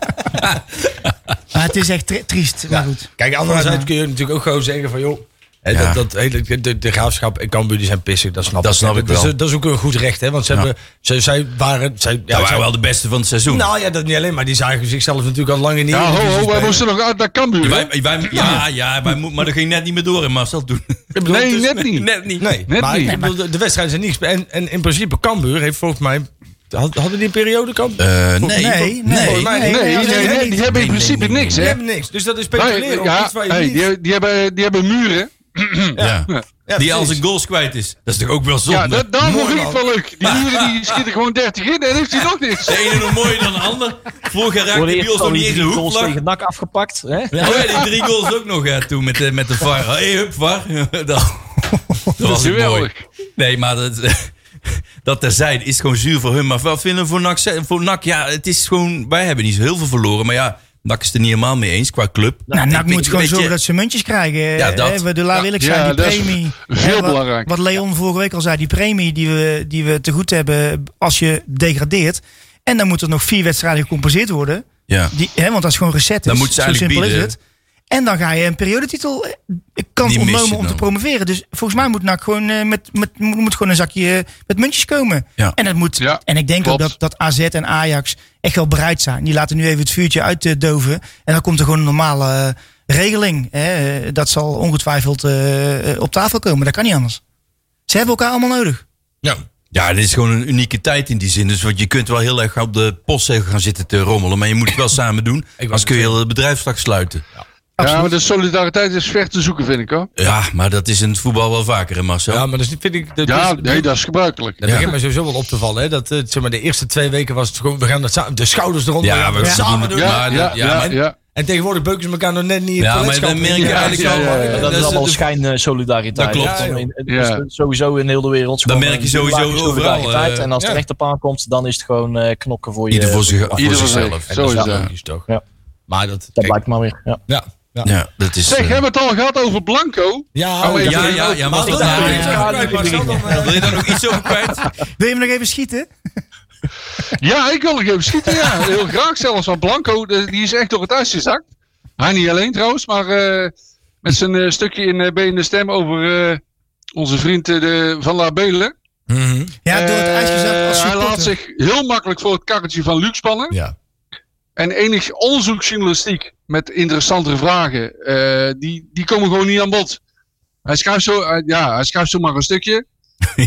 Ah, het is echt tri- triest. Maar goed. Kijk, anderzijds kun je natuurlijk ook gewoon zeggen van joh. hè, Ja. Dat, dat hele, de, de graafschap en Cambuur die zijn pissig, dat snap Dat ik. snap ik Dat, wel. is, dat is ook een goed recht, hè? Want ze, Ja. hebben, ze, zij waren. Zij, ja, Dat zij- waren wel de beste van het seizoen. Nou ja, dat niet alleen, maar die zagen zichzelf natuurlijk al lang in die Ja, dus ho, Eredivisie ho, wij spelen. moesten nog uit naar Cambuur. hè? Wij- wij- ja, ja wij moet, maar dat ging net niet meer door in Marcel toen. Nee, net niet. Net niet. Nee, Net maar niet. ik bedoel, de, de wedstrijden zijn niet gespeeld. En, en in principe, Cambuur heeft volgens mij... Had, hadden die een periode, Cambuur? Eh, nee, nee, nee. nee. Volgens mij- Nee, Nee, nee, nee, nee, nee, die hebben in nee, principe nee, nee, niks, Die hè? hebben niks. Dus dat is Wij- speculeren op Ja, iets waar je hey, niet... die, die, hebben, die hebben muren. Ja. Ja, Die al precies. zijn goals kwijt is. Dat is toch ook wel zonde? Ja, dat, daarom Mooi, vind ik het wel leuk. Die muren die schieten gewoon 30 in en heeft hij nog [laughs] niks. De ene nog mooier dan de ander. Vorig jaar Voor raakte de die eerste nog niet die eens de drie goals hoekvlag. tegen NAC afgepakt. Hè? Ja. Oh ja, die drie goals ook nog hè, toen met de, met de VAR. Hé, hey, hup, VAR. [laughs] dat, dat was het mooi. Geweldig. Nee, maar dat, [laughs] dat terzijde is gewoon zuur voor hun. Maar wat vinden we voor NAC? ze- Voor NAC, ja, het is gewoon... Wij hebben niet zo heel veel verloren. Maar ja, NAC is het er niet helemaal mee eens qua club. Nou, NAC Ik weet- moet gewoon weet je- zorgen dat ze muntjes krijgen. Ja, Ja, dat. dat. De laat eerlijk Ja, zijn, die dat is premie. veel Hè, wat- belangrijk. Wat Leon vorige week al zei, die premie die we, die we te goed hebben als je degradeert. En dan moeten er nog vier wedstrijden gecompenseerd worden. Ja. Die, hè, want dat is gewoon reset. Dan is. moeten ze Zo eigenlijk simpel is bieden. het. En dan ga je een periodetitel eh, kans Die mis je ontnomen om te dan. promoveren. Dus volgens mij moet NAC gewoon, eh, met, met, moet moet gewoon een zakje eh, met muntjes komen. Ja. En, dat moet, Ja, en ik denk klopt. ook dat, dat AZ en Ajax echt wel bereid zijn. Die laten nu even het vuurtje uitdoven. En dan komt er gewoon een normale eh, regeling. Hè. Eh, Dat zal ongetwijfeld eh, eh, op tafel komen. Dat kan niet anders. Ze hebben elkaar allemaal nodig. Ja. Ja, dit is gewoon een unieke tijd in die zin. Dus want je kunt wel heel erg op de postzegel gaan zitten te rommelen. Maar je moet het wel [laughs] samen doen. Anders kun je heel het bedrijf straks sluiten. Ja, maar de solidariteit is ver te zoeken, vind ik hoor. Ja, maar dat is in het voetbal wel vaker, hè, Marcel? Ja, maar dat is- vind ik... Dat Ja, is- nee, dat is gebruikelijk. Dat begint mij sowieso wel op te vallen. Hè? Dat, eh, zeg maar, de eerste twee weken was het gewoon... We gaan dat sa- de schouders eronder. Ja, we het gaan samen het doen. doen. Ja, maar ja, dat- ja, ja, maar- ja. En tegenwoordig beuken ze elkaar nog net niet in het Ja, maar toiletschap. dan merk je Ja, eigenlijk al. ja, ja, ja. dat Eh, Dat is is allemaal het- schijnsolidariteit. Dat klopt. Ja, joh. Het is Ja. Sowieso in heel de wereld. Dat gewoon eh, merk je een sowieso lage overal, solidariteit. eh, En als het ja. echt op aankomt, dan is het gewoon eh, knokken voor je. Ieder voor, zich, voor Ieder voor zichzelf. zich. En dat Zo is wel dat. logisch, toch? Ja. Maar dat... Dat kijk, blijkt maar weer. Ja. Ja, ja. Ja, dat is... Zeg, eh, hebben we het al gehad over Blanco? Ja, Oh, ja, ja, ja, maar dat dat daar- Wil je daar nog iets over kwijt? Wil je me nog even schieten? Ja, ik wil nog even schieten, [laughs] ja. Heel graag zelfs. Want Blanco, de- die is echt door het ijs gezakt. Hij niet alleen trouwens, maar eh, met zijn eh, stukje in eh, B in de Stem over eh, onze vriend eh, de, Van La Belen. Ja, door het Eh, ijs gezakt als Hij laat supporter. zich heel makkelijk voor het karretje van Luc spannen. Ja. En enig onderzoeksjournalistiek met interessantere vragen, eh, die, die komen gewoon niet aan bod. Hij schrijft zo, eh, ja, hij schrijft zomaar een stukje.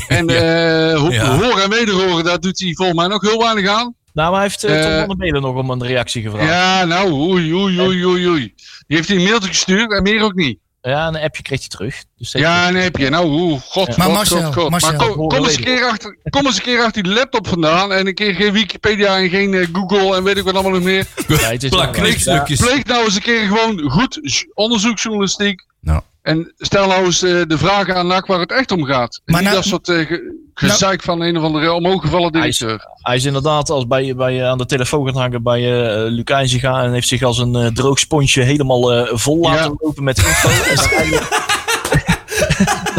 En eh ho- Ja. hoor en wederhoren, daar doet hij volgens mij nog heel weinig aan. Nou, maar hij heeft eh, Eh, Tom van der Meulen nog om een reactie gevraagd. Ja. Ja, nou, oei, oei, oei, oei, oei. Die heeft hij een mailtje gestuurd en meer ook niet. een appje kreeg hij terug. Dus [laughs] dat- Ja, en heb je, nou, oeh, god, Ja. god, Maar god, Marcel, god. Marcel. Maar kom, Horen kom eens een wederhoren. keer achter, kom eens een keer achter die laptop vandaan en een keer geen Wikipedia en geen eh, Google en weet ik wat allemaal nog meer. Ja, het is Plak wel- knikstukjes. Pleeg nou eens een keer gewoon goed j- onderzoeksjournalistiek. Nou. En stel nou eens eh, de vragen aan NAC waar het echt om gaat. En Maar niet nou- dat soort eh, ge- gezeik van een of andere omhooggevallen Hij is- directeur. Hij is inderdaad als bij, bij, eh, aan de telefoon gaan hangen bij eh Luc Eizinga en heeft zich als een eh, droog sponsje helemaal eh, vol Ja. laten lopen met info. en is eigenlijk- [laughs]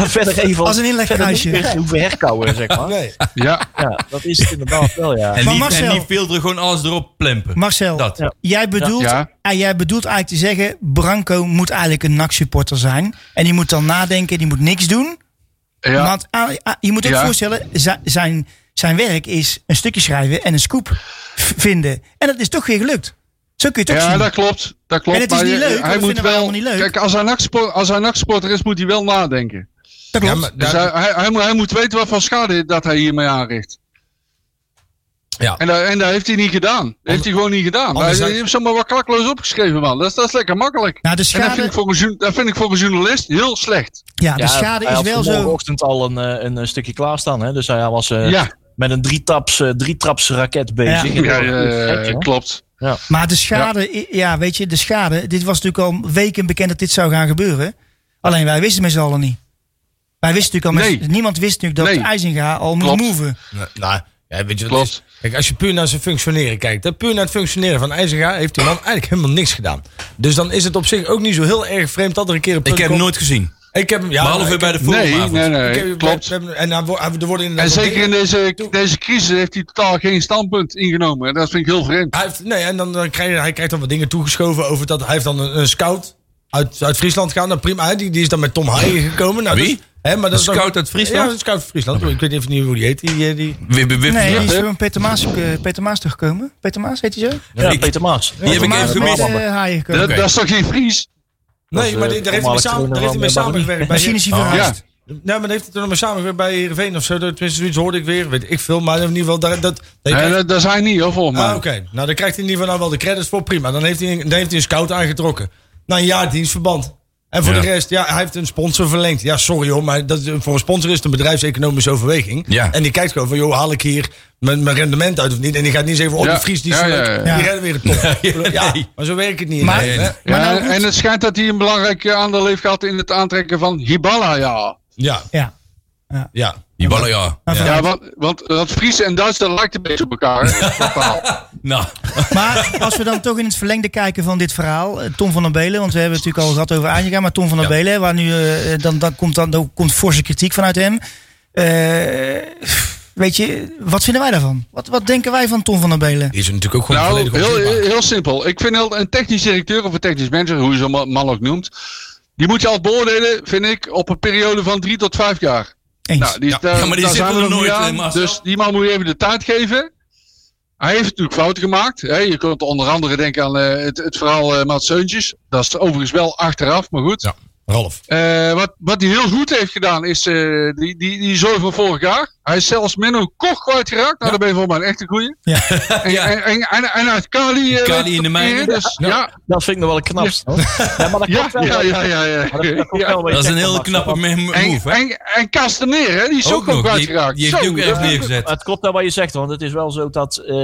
verder even Als een inlegkruisje. verder niet meer hoeven herkouwen, zeg maar. Nee. Ja, Ja, dat is het inderdaad wel, ja. En Maar die, Marcel- en die filteren gewoon alles erop plempen. Marcel, Dat. Ja. jij, bedoelt, Ja. ah, jij bedoelt eigenlijk te zeggen... Branco moet eigenlijk een NAC-supporter zijn. En die moet dan nadenken, die moet niks doen. ja. Want ah, ah, je moet ook Ja. voorstellen, zi- zijn, zijn werk is een stukje schrijven en een scoop v- vinden. En dat is toch weer gelukt. Zo kun je het ook Ja, zien. dat klopt. Dat klopt. En het is maar niet je- leuk, want Hij dat moet vinden wij wel. allemaal niet leuk. Kijk, als hij nachtspor- als hij nachtsporter is, moet hij wel nadenken. Dat Ja, klopt. maar Dus daar- hij, hij, hij moet, hij moet weten wat voor schade dat hij hiermee aanricht. Ja. En, dat, en dat heeft hij niet gedaan. Dat heeft hij gewoon niet gedaan. Hij, anderzijds- hij heeft zomaar wat klakloos opgeschreven, man. Dat, is- dat is lekker makkelijk. nou, de En dat vind, ik schade, voor een, jour- dat vind ik voor een journalist heel slecht. ja, de Ja, schade hij is had wel zo. vanmorgenochtend al een, eh, een eh, stukje klaarstaan, hè. Dus hij was eh, ja, met een drietraps eh, drietraps raket bezig. ja, En dat was eh, gek, hè. klopt. Maar de schade, i- ja, weet je, de schade. Dit was natuurlijk al weken bekend dat dit zou gaan gebeuren. Alleen wij wisten met z'n allen niet. Wij wisten natuurlijk al, met- Nee. niemand wist natuurlijk dat Nee. IJzinga al moest Klopt. moven. Nou, nou, ja, weet je wat het Klopt. is? Kijk, als je puur naar zijn functioneren kijkt, hè, puur naar het functioneren van IJzerga, heeft die man eigenlijk helemaal niks gedaan. Dus dan is het op zich ook niet zo heel erg vreemd dat er een keer een punt Ik heb hem komt. nooit gezien. Ik heb hem, ja, Behalve ik- bij de Nee, voetbalavond. nee, ik nee. heb- klopt. we hebben- En hij wo- hij- er worden inderdaad En wel zeker dingen- in deze, deze crisis heeft hij totaal geen standpunt ingenomen. En Dat vind ik heel vreemd. Hij heeft, nee, en dan, dan krijg je, hij krijgt dan wat dingen toegeschoven over dat hij heeft dan een, een scout uit, uit Friesland gegaan. Nou, prima, hè, die, die is dan met Tom Haaien gekomen. Nou, Wie? dus- hè, maar dat is dan- scout uit Friesland? Ja, een scout uit Friesland. Ik weet even niet hoe die heet. Die, eh, die, Wip, wip, wip. Nee, Ja. die is van Peter Maas, eh, Peter Maas teruggekomen. Peter Maas, heet hij zo? Ja, Ik- Peter Maas. Die heb ik Maas even met gemist. eh, haaien gekomen. Dat, dat is toch geen Fries? Dat nee, is, maar eh, die- daar heeft hij mee, voormalig samen, daar trainer heeft hij mee van, eh, samengewerkt. bij- Misschien is hij Ah. verhuisd. Nou, maar daar heeft hij toen nog maar samengewerkt bij Heerenveen of zo. Dat- Tenminste, zoiets hoorde ik weer. Weet ik veel. Maar in ieder geval, daar, dat... dat- Nee, dat, dat is hij niet, hoor, volgens mij. Ah, oké. Nou, dan krijgt hij in ieder geval nou wel de credits voor. Prima. Dan heeft hij, dan heeft hij een scout aangetrokken. Na een jaar dienstverband. En voor Ja. de rest, ja, hij heeft een sponsor verlengd. Ja, sorry hoor, maar dat, voor een sponsor is het een bedrijfseconomische overweging. Ja. En die kijkt gewoon van, joh, haal ik hier mijn, mijn rendement uit of niet? En die gaat niet zeggen, van, oh, Ja. die Fries, die is Ja, leuk. ja, ja. Ja. Die redden weer het top. Ik bedoel, Ja, maar zo werkt het niet. in Maar- Nederland, hè? Ja, Maar nou goed. en het schijnt dat hij een belangrijk eh, aandeel heeft gehad in het aantrekken van Hibala, ja. Ja, Ja. ja. Die ballen, ja. Maar, Ja, want, want, want Fries en Duits, dat lijkt een beetje op elkaar. hè, totaal. Nou, maar als we dan toch in het verlengde kijken van dit verhaal. eh, Tom van der Belen, want we hebben het natuurlijk al gehad over Ajaga. Maar Tom van der Ja. Belen, waar nu, eh, dan, dan, komt, dan, dan komt forse kritiek vanuit hem. Eh, weet je, wat vinden wij daarvan? Wat, wat denken wij van Tom van der Belen? Die is er natuurlijk ook gewoon Nou, volledig heel, onzichtbaar. heel simpel. Ik vind heel- een technisch directeur of een technisch manager, hoe je zo'n ma- man ook noemt, die moet je altijd beoordelen, vind ik, op een periode van drie tot vijf jaar. Eens. Nou, die, daar- ja, maar die daar zit zijn we er nog nooit, niet aan, eh, Marcel. Dus die man moet je even de tijd geven. Hij heeft natuurlijk fouten gemaakt. Hè. Je kunt onder andere denken aan eh, het, het verhaal eh Maat Seuntjes. Dat is overigens wel achteraf, maar goed. Ja, Ralf. Eh, wat, wat hij heel goed heeft gedaan is eh, die, die, die zorg van vorig jaar. Hij is zelfs Menno Koch kwijtgeraakt. Nou, daar ben je volgens mij een echte goeie. Ja. [laughs] En, Ja. en, en, en, en uit Kali. eh, Kali in de mijnen. Dus, ja, Dat vind ik nog wel een knapste. hoor. Ja, maar dat ja, klopt wel. ja, ja, ja. ja. Maar dat- dat klopt wel Ja. een beetje dat is een echt heel wel, knappe maar- me- En, move, hè? en, en Castaneer, hè, die is ook, ook nog. Die, kwijtgeraakt. die heeft Zo, die ook ergens ja. neergezet. Maar het klopt wel wat je zegt, want het is wel zo dat eh,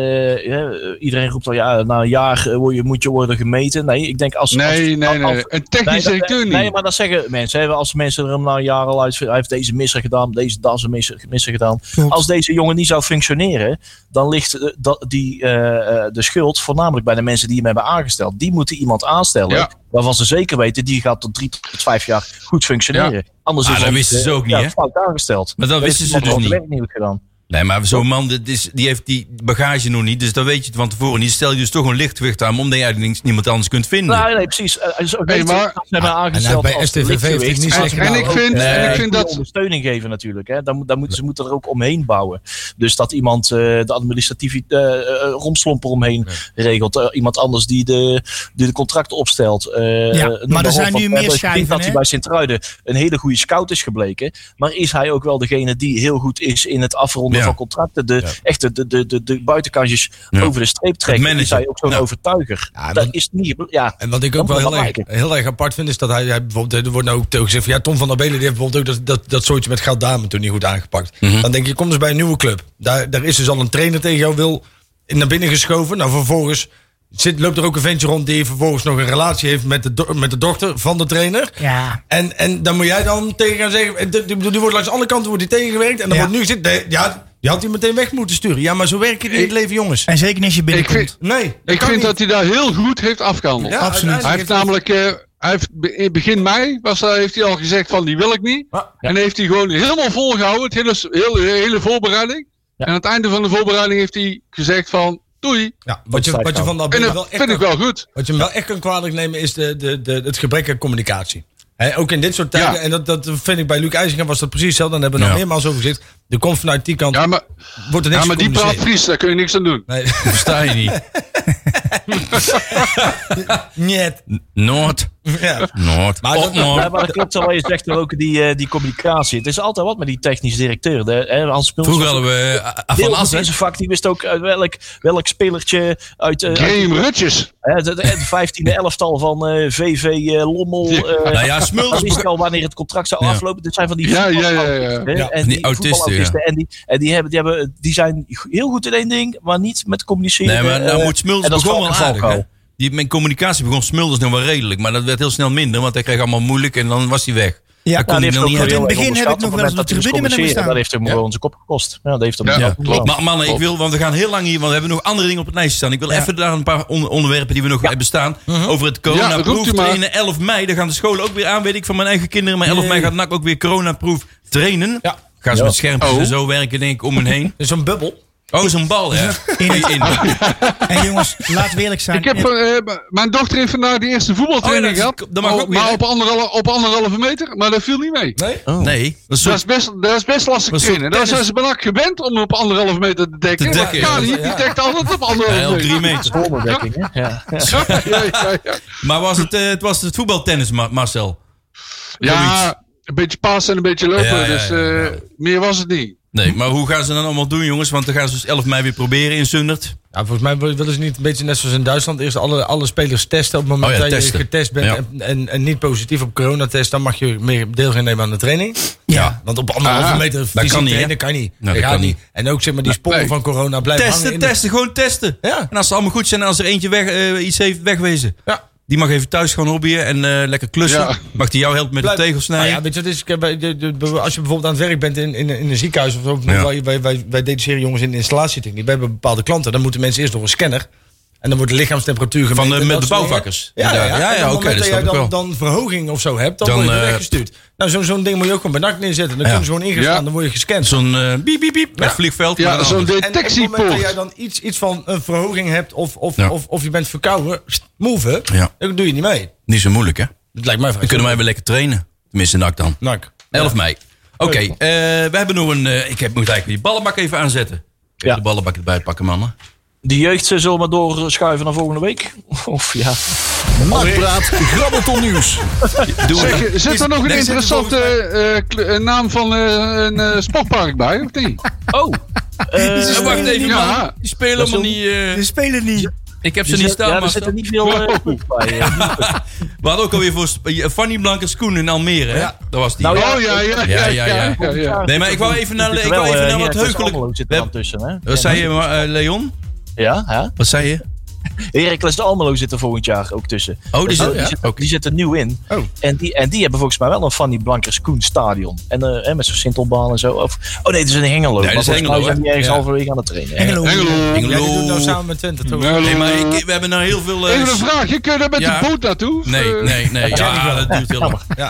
hè, iedereen roept al, ja, na een jaar eh, word je, moet je worden gemeten. Nee, ik denk als... als- Nee, nee, als- nee. Een technisch dat- directeur [laughs] niet. nee, maar dat zeggen mensen. Hè, als mensen er hem na een jaar al uit... Hij heeft deze missen gedaan, deze dansen missen, missen gedaan. Klopt. Als deze jongen niet zou functioneren, dan ligt eh, dat, die, eh, eh, de schuld voornamelijk bij de mensen die hem hebben aangesteld. Die moeten iemand aanstellen Ja. waarvan ze zeker weten, die gaat tot drie tot vijf jaar goed functioneren. Anders Ah, is dat het, wisten ze eh, ook niet, ja, hè? fout aangesteld. Maar dat Weet wisten je, ze dus had het niet. werk niet goed gedaan. Nee, maar zo'n man dit is, die heeft die bagage nog niet. Dus dat weet je van tevoren niet. Stel je dus toch een lichtgewicht aan, omdat je eigenlijk niemand anders kunt vinden. Nou, nee, precies. Eh, hij is ook Hey, beter- maar- ze hebben Ah, en aangesteld bij als STVV heeft hij lichtgewicht. niet En- slecht en gedaan. ik vind- Nee. en ik vind dat- eh, ondersteuning geven natuurlijk. Hè. Daar, moet, daar moeten, ze moeten er ook omheen bouwen. Dus dat iemand eh, de administratieve eh, eh, romslomper omheen regelt. Eh, iemand anders die de, die de contracten opstelt. Eh, Ja, noem maar er zijn op, want nu we meer hebben gezien schijven, dat hij hè? bij Sint-Truiden een hele goede scout is gebleken. Maar is hij ook wel degene die heel goed is in het afronden Ja. van contracten? De, Echte de, de, de, de buitenkantjes Ja. over de streep trekken. Is managen. hij ook zo'n Ja. overtuiger? Ja, dat dan- is niet... Ja, En wat ik ook Dat wel is heel erg, belangrijk. heel erg apart vind, is dat hij, hij bijvoorbeeld, er wordt nou ook gezegd van ja, Tom van der Belen die heeft bijvoorbeeld ook dat, dat, dat soortje met Goud Dame toen niet goed aangepakt. Mhm. Dan denk je, kom eens bij een nieuwe club. Daar, daar is dus al een trainer tegen jou wil naar binnen geschoven. Nou, vervolgens zit, loopt er ook een ventje rond die vervolgens nog een relatie heeft met de, do- met de dochter van de trainer. Ja. En, en dan moet jij dan tegen gaan zeggen, eh, die, die, die wordt langs alle kanten wordt die tegengewerkt. En dan Ja. wordt nu gezegd, nee, ja, die had hij meteen weg moeten sturen. Ja, maar zo werkt het in het leven, jongens. En zeker als je Ik binnenkomt. vind, Nee, dat ik kan vind niet. dat hij daar heel goed heeft afgehandeld. Ja, Absoluut. uiteindelijk Hij heeft namelijk, eh, hij heeft be- in begin mei was, hij- heeft hij al gezegd van die wil ik niet. Ja. En heeft hij gewoon helemaal volgehouden, het hele, s- hele, hele voorbereiding. En aan het einde van de voorbereiding heeft hij gezegd van doei. Ja, wat, je, wat je van dat En Belen dat wel echt vind ik wel goed. Wat je hem wel echt kan kwalijk nemen is de, de, de, het gebrek aan communicatie. Hè, ook in dit soort tijden. Ja. En dat, dat vind ik bij Luc IJzinga was dat precies hetzelfde. Dan hebben we Ja. nog meermaals over gezegd. Er komt vanuit die kant. Ja, maar, wordt er niks ja, maar die praat Fries, daar kun je niks aan [laughs] doen. gecommuniceerd. Versta je niet? Nee, net. Noord. Ja. Noord. Maar Op dat- Noord. Ja, maar dat klopt wel wat je zegt, ook die, eh, die communicatie. Het is altijd wat met die technisch directeur. De, hè, Hans Mulder Vroeger was hadden ook we eh, deel Van van Assen. deze vak, die wist ook uit welk, welk spelertje uit, eh, uit Graham Rutjes. hè, de, de, de 15e elftal van eh, VV eh, Lommel. eh, Nou ja, Smulders dat wist al wanneer het contract zou Ja. aflopen. Dit zijn van die Ja, ja, ja, ja. voetbalautisten, hè, Ja, En van die, die autisten, voetbalautisten. En, die, en die, hebben, die, hebben, die zijn heel goed in één ding, maar niet met communiceren. Nee, maar nou eh, moet Smulders en dat is begon wel Valk en aardig. Valko. hè. Die, mijn communicatie begon Smulders nog wel redelijk. Maar dat werd heel snel minder, want hij kreeg allemaal moeilijk en dan was hij weg. Ja, Daar kon Nou, hij die heeft dan ook niet wel uit. heel In het erg begin heb ik nog wel eens onderschat op het op de moment tribune dat hij moest met hem communiceren. Dat heeft hem gewoon zijn kop gekost. Ja, dat heeft hem Ja, wel Ja, gedaan. klopt. Maar mannen, ik wil, want we gaan heel lang hier, want we hebben nog andere dingen op het lijstje staan. Ik wil even daar een paar on- onderwerpen die we nog hebben staan. Over het Ja, roept u coronaproef maar. trainen 11 mei. Dan gaan de scholen ook weer aan, weet ik van mijn eigen kinderen. Maar 11 mei gaat NAC ook weer coronaproef trainen. Ja. Gaan ze Ja. met schermpjes Oh. en zo werken, denk ik, om hen heen. Dus zo'n bubbel. Oh, zo'n bal, hè? In het- In. En jongens, laten we [laughs] eerlijk zijn. Ik heb, eh, m- mijn dochter heeft vandaag die eerste voetbaltraining Oh ja, dat is- gehad. dat mag Oh, ook weer, maar hè? op anderhalve, op anderhalve meter, maar dat viel niet mee. Nee? Nee, dat is Dat zo- is best, dat is best lastig Een soort trainen. Daar zijn ze benak gewend om op anderhalf meter te dekken. Te maar dekken, Kali, ja. die dekt altijd op anderhalf Ja, op drie meter. Zonnedekking, hè? Ja. [laughs] Ja, ja, [laughs] ja. Maar was het, eh, het was het voetbaltennis, Ma- Marcel? Ja, een beetje passen en een beetje lopen. Ja, ja, ja, dus eh, meer was het niet. Nee, maar hoe gaan ze dan allemaal doen, jongens? Want dan gaan ze dus 11 mei weer proberen in Sundert. Ja, volgens mij willen ze niet een beetje net zoals in Duitsland. Eerst alle, alle spelers testen. Op het moment Oh ja, dat testen. je getest bent Ja. en, en, en niet positief op coronatest. Dan mag je meer deel gaan nemen aan de training. Ja. Want op anderhalve Ah, meter kan fysiek niet, hè? trainen kan niet. dat dat kan gaat niet. niet. En ook zeg maar die sporen Nee. van corona blijven hangen. Testen, in de- testen, gewoon testen. Ja. En als ze allemaal goed zijn en als er eentje weg, eh, iets heeft, wegwezen. Ja. Die mag even thuis gaan hobbyen en eh, lekker klussen. Ja. Mag die jou helpen met de Blijf- tegels snijden? Nou ja, weet je, wat is, Ik heb bij de- de- als je bijvoorbeeld aan het werk bent in, in, in een ziekenhuis of zo, Ja. wij, wij, wij, wij detacheren jongens in de installatietechniek. Wij hebben bepaalde klanten, dan moeten mensen eerst door een scanner. En dan wordt de lichaamstemperatuur gemeten. Van de- en met dat de soort dingen. bouwvakkers. Ja, ja, Ja, ja. ja, ja, En op het oké, moment dat dat jij snap ik dan, dan verhoging of zo hebt, dan, Dan, word je eh, weggestuurd. Nou, zo- zo'n ding moet je ook gewoon bij NAC neerzetten. Dan Ja. kunnen ze gewoon ingestaan, Ja. dan word je gescand. Zo'n eh, biep, biep, biep. Het vliegveld. maar Ja, dan zo'n anders. En op het moment dat jij detectiepoort. dan iets, iets van een verhoging hebt of, of, Ja. of, of je bent verkouden, move, hè. Ja. dan doe je niet mee. Niet zo moeilijk, hè? Dat lijkt mij Nou, Dan kunnen wij weer lekker trainen. Tenminste, nak dan. NAC. 11 mei. Oké, eh, we hebben nog een... eh, ik heb, moet eigenlijk die ballenbak even aanzetten. Even Ja. de ballenbak erbij pakken, mannen. Die jeugd eh, zullen we maar doorschuiven naar volgende week. Of ja. Nakpraat, grabbelton nieuws. Doe Zeg, het. eh, zit er nog een Nee, zit er interessante volgens eh, kle- eh, naam van eh, een eh, sportpark bij, of niet? [laughs] Oh! eh, Eh, wacht even, Ja. man. Die spelen allemaal niet... eh, Ze spelen niet. ik heb ze er niet staan, zit- Dus ja, er maar... zitten niet veel eh, Wow. clubs bij. eh. We hadden ook alweer voor Sp- eh, Fanny Blanke Schoen in Almere, hè? Dat was die. Nou Oh ja, ja, Ja, ja, ja, ja. ja. ja, ja. Nee, maar ik wou even naar, ik Terwijl, wou even eh, naar wat Heracles heugelijk... Almelo zit er dan tussen, hè? Wat zei je, maar, eh, Leon? Ja, ja. Wat zei je? Heracles de Almelo zit er volgend jaar ook tussen. Oh, die Dus, zit- eh, die, ja, zit, oké. die zit er nieuw in. Oh. En, die, en die hebben volgens mij wel een Fanny Blankers Koen stadion. En eh, eh, met zo'n Sintelbaan en zo. Of, oh nee, het is in Hengelo. dat maar is volgens mij Hengelo, zijn die hè? ergens Ja. halverwege aan het trainen. Engelo. Engelo. Ja, die doet nou Engelo. samen met Twente, toch? Nee, maar Engelo. ik, we hebben nou heel veel... eh, Even een vraagje, kun je daar met Ja. de boot naartoe? Of, Nee, eh, nee, nee. Ja, dat duurt heel lang. Ja.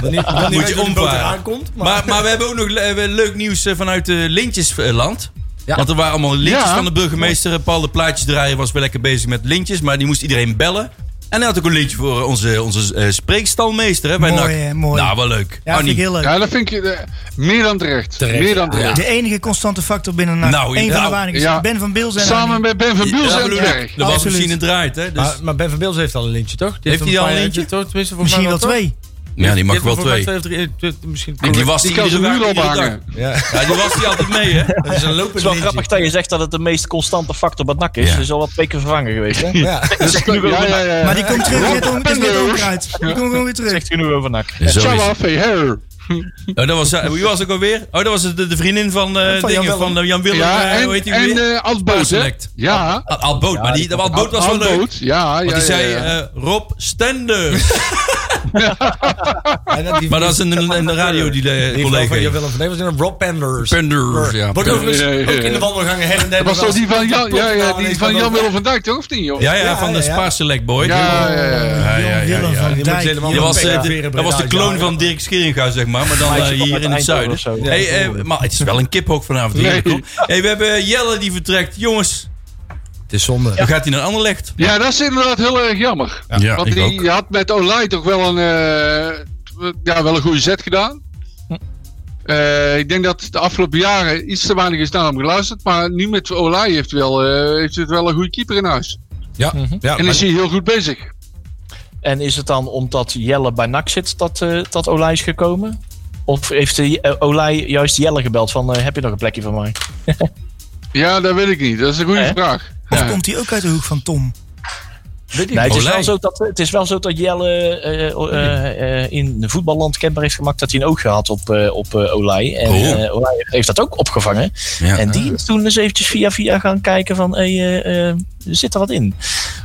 Wanneer- wanneer Moet je weet dat de boot omvaren. eraan komt, maar- Maar, maar we hebben ook nog le- eh, leuk nieuws eh, vanuit eh, Lintjesland. Ja. Want er waren allemaal lintjes Ja. van de burgemeester. Eh, Paul de plaatjes draaien was wel lekker bezig met lintjes. Maar die moest iedereen bellen. En hij had ook een lintje voor onze, onze eh, spreekstalmeester. Hè, bij Mooi, NAC. eh, hè, mooi. Nou, wel leuk. Ja, vind Annie. ik heel leuk. Ja, dat vind ik eh, meer dan terecht. Terecht, meer dan ja. terecht. De enige constante factor binnen NAC. Nou, Eén van nou, de waarnemingen. ja. Ben van Beelzen en Samen Annie. met Ben van Biels Ja, en bedoel ik. Berg. De Absoluut. wasmachine draait, hè. Dus, Maar, maar Ben van Beels heeft al een lintje, toch? Die Heeft hij al paar een jaar- lintje? toch? Tenminste, volgens Misschien mij wel toch? twee. ja, die mag heeft wel er volgens twee. mij twee of drie- eh, misschien- En die was Die kan zijn iedere muur dag, iedere dag. ophangen. Ja, Ja, die was die altijd mee, hè. [laughs] dat is een Het is lopend wel lintje. grappig dat je zegt dat het de meest constante factor bij NAC is. Ja. Er is al wat twee keer vervangen geweest. Hè? [laughs] Ja. Dat is- Ja, ja, ja. Maar die komt terug. Het is net on- het is net onkruid. Die komt gewoon weer Dat terug. zegt genoeg over NAC. Zo is het. Shabba Feher. Oh, dat was, wie was ook alweer? Oh, dat was de, de vriendin van, eh, Van Jan dingen, Willem. van eh, Jan Willem. Ja, eh, hoe en, heet die en weer? eh, Ad Boot, hè? Spaarselect. Ja. Al- Alboot, maar die, Alboot was wel Ad leuk. Boot, Ja, ja, Want die ja, zei ja. eh, Rob Stenders. En dat die- maar dat is een, een, een radio die de die vrouw collega van Jan heeft. Willem van Neen was in een Rob Penders. Penders, ja. Wordt Penders. overigens Ja, ja, ja. ook in de wandelgangen her en der. Dat was toch die van Ja, Jan, ja, ja, die van Jan Willem van Dijk, toch? Of niet, joh? Ja, ja, Ja, van de ja, ja. Spaarselect Boy. Ja, ja, ja, ja. ja, ja, ja, Willem ja. van Die moet Dijk. je helemaal- Dat was, eh, Ja, de- Veren dat was de Breda, clown ja, van Dirk Scheringa, zeg maar. Maar dan eh, Meisje van hier in het Eindhoven zuiden. of zo. Hey, eh, maar het is wel een kiphoek vanavond. hier. Nee. Hey, we hebben eh, Jelle die vertrekt. Jongens, Het is zonde. dan gaat hij naar Anderlecht. Ja, dat is inderdaad heel erg jammer. Ja, Want ik die ook. had met Olij toch wel een, eh, ja, wel een goede zet gedaan. Eh, ik denk dat de afgelopen jaren iets te weinig is naar hem geluisterd. Maar nu met Olij heeft, wel, eh, heeft het wel een goede keeper in huis. Ja, ja, En maar- is hij heel goed bezig. En is het dan omdat Jelle bij NAC zit dat, eh, dat Olij is gekomen? Of heeft de, eh, Olij juist Jelle gebeld van eh, heb je nog een plekje voor mij? Ja, dat weet ik niet. Dat is een goede Hè? vraag. Of Ja. komt hij ook uit de hoek van Tom? Nee, het, is Olij. wel zo dat, het is wel zo dat Jelle eh, o- eh, eh, in de voetballand kenbaar heeft gemaakt dat hij een oog gehad op, eh, op eh, Olij. En Oh. eh, Olij heeft dat ook opgevangen. Ja. En die is toen eens eventjes via via gaan kijken van hey, eh, eh, zit er wat in?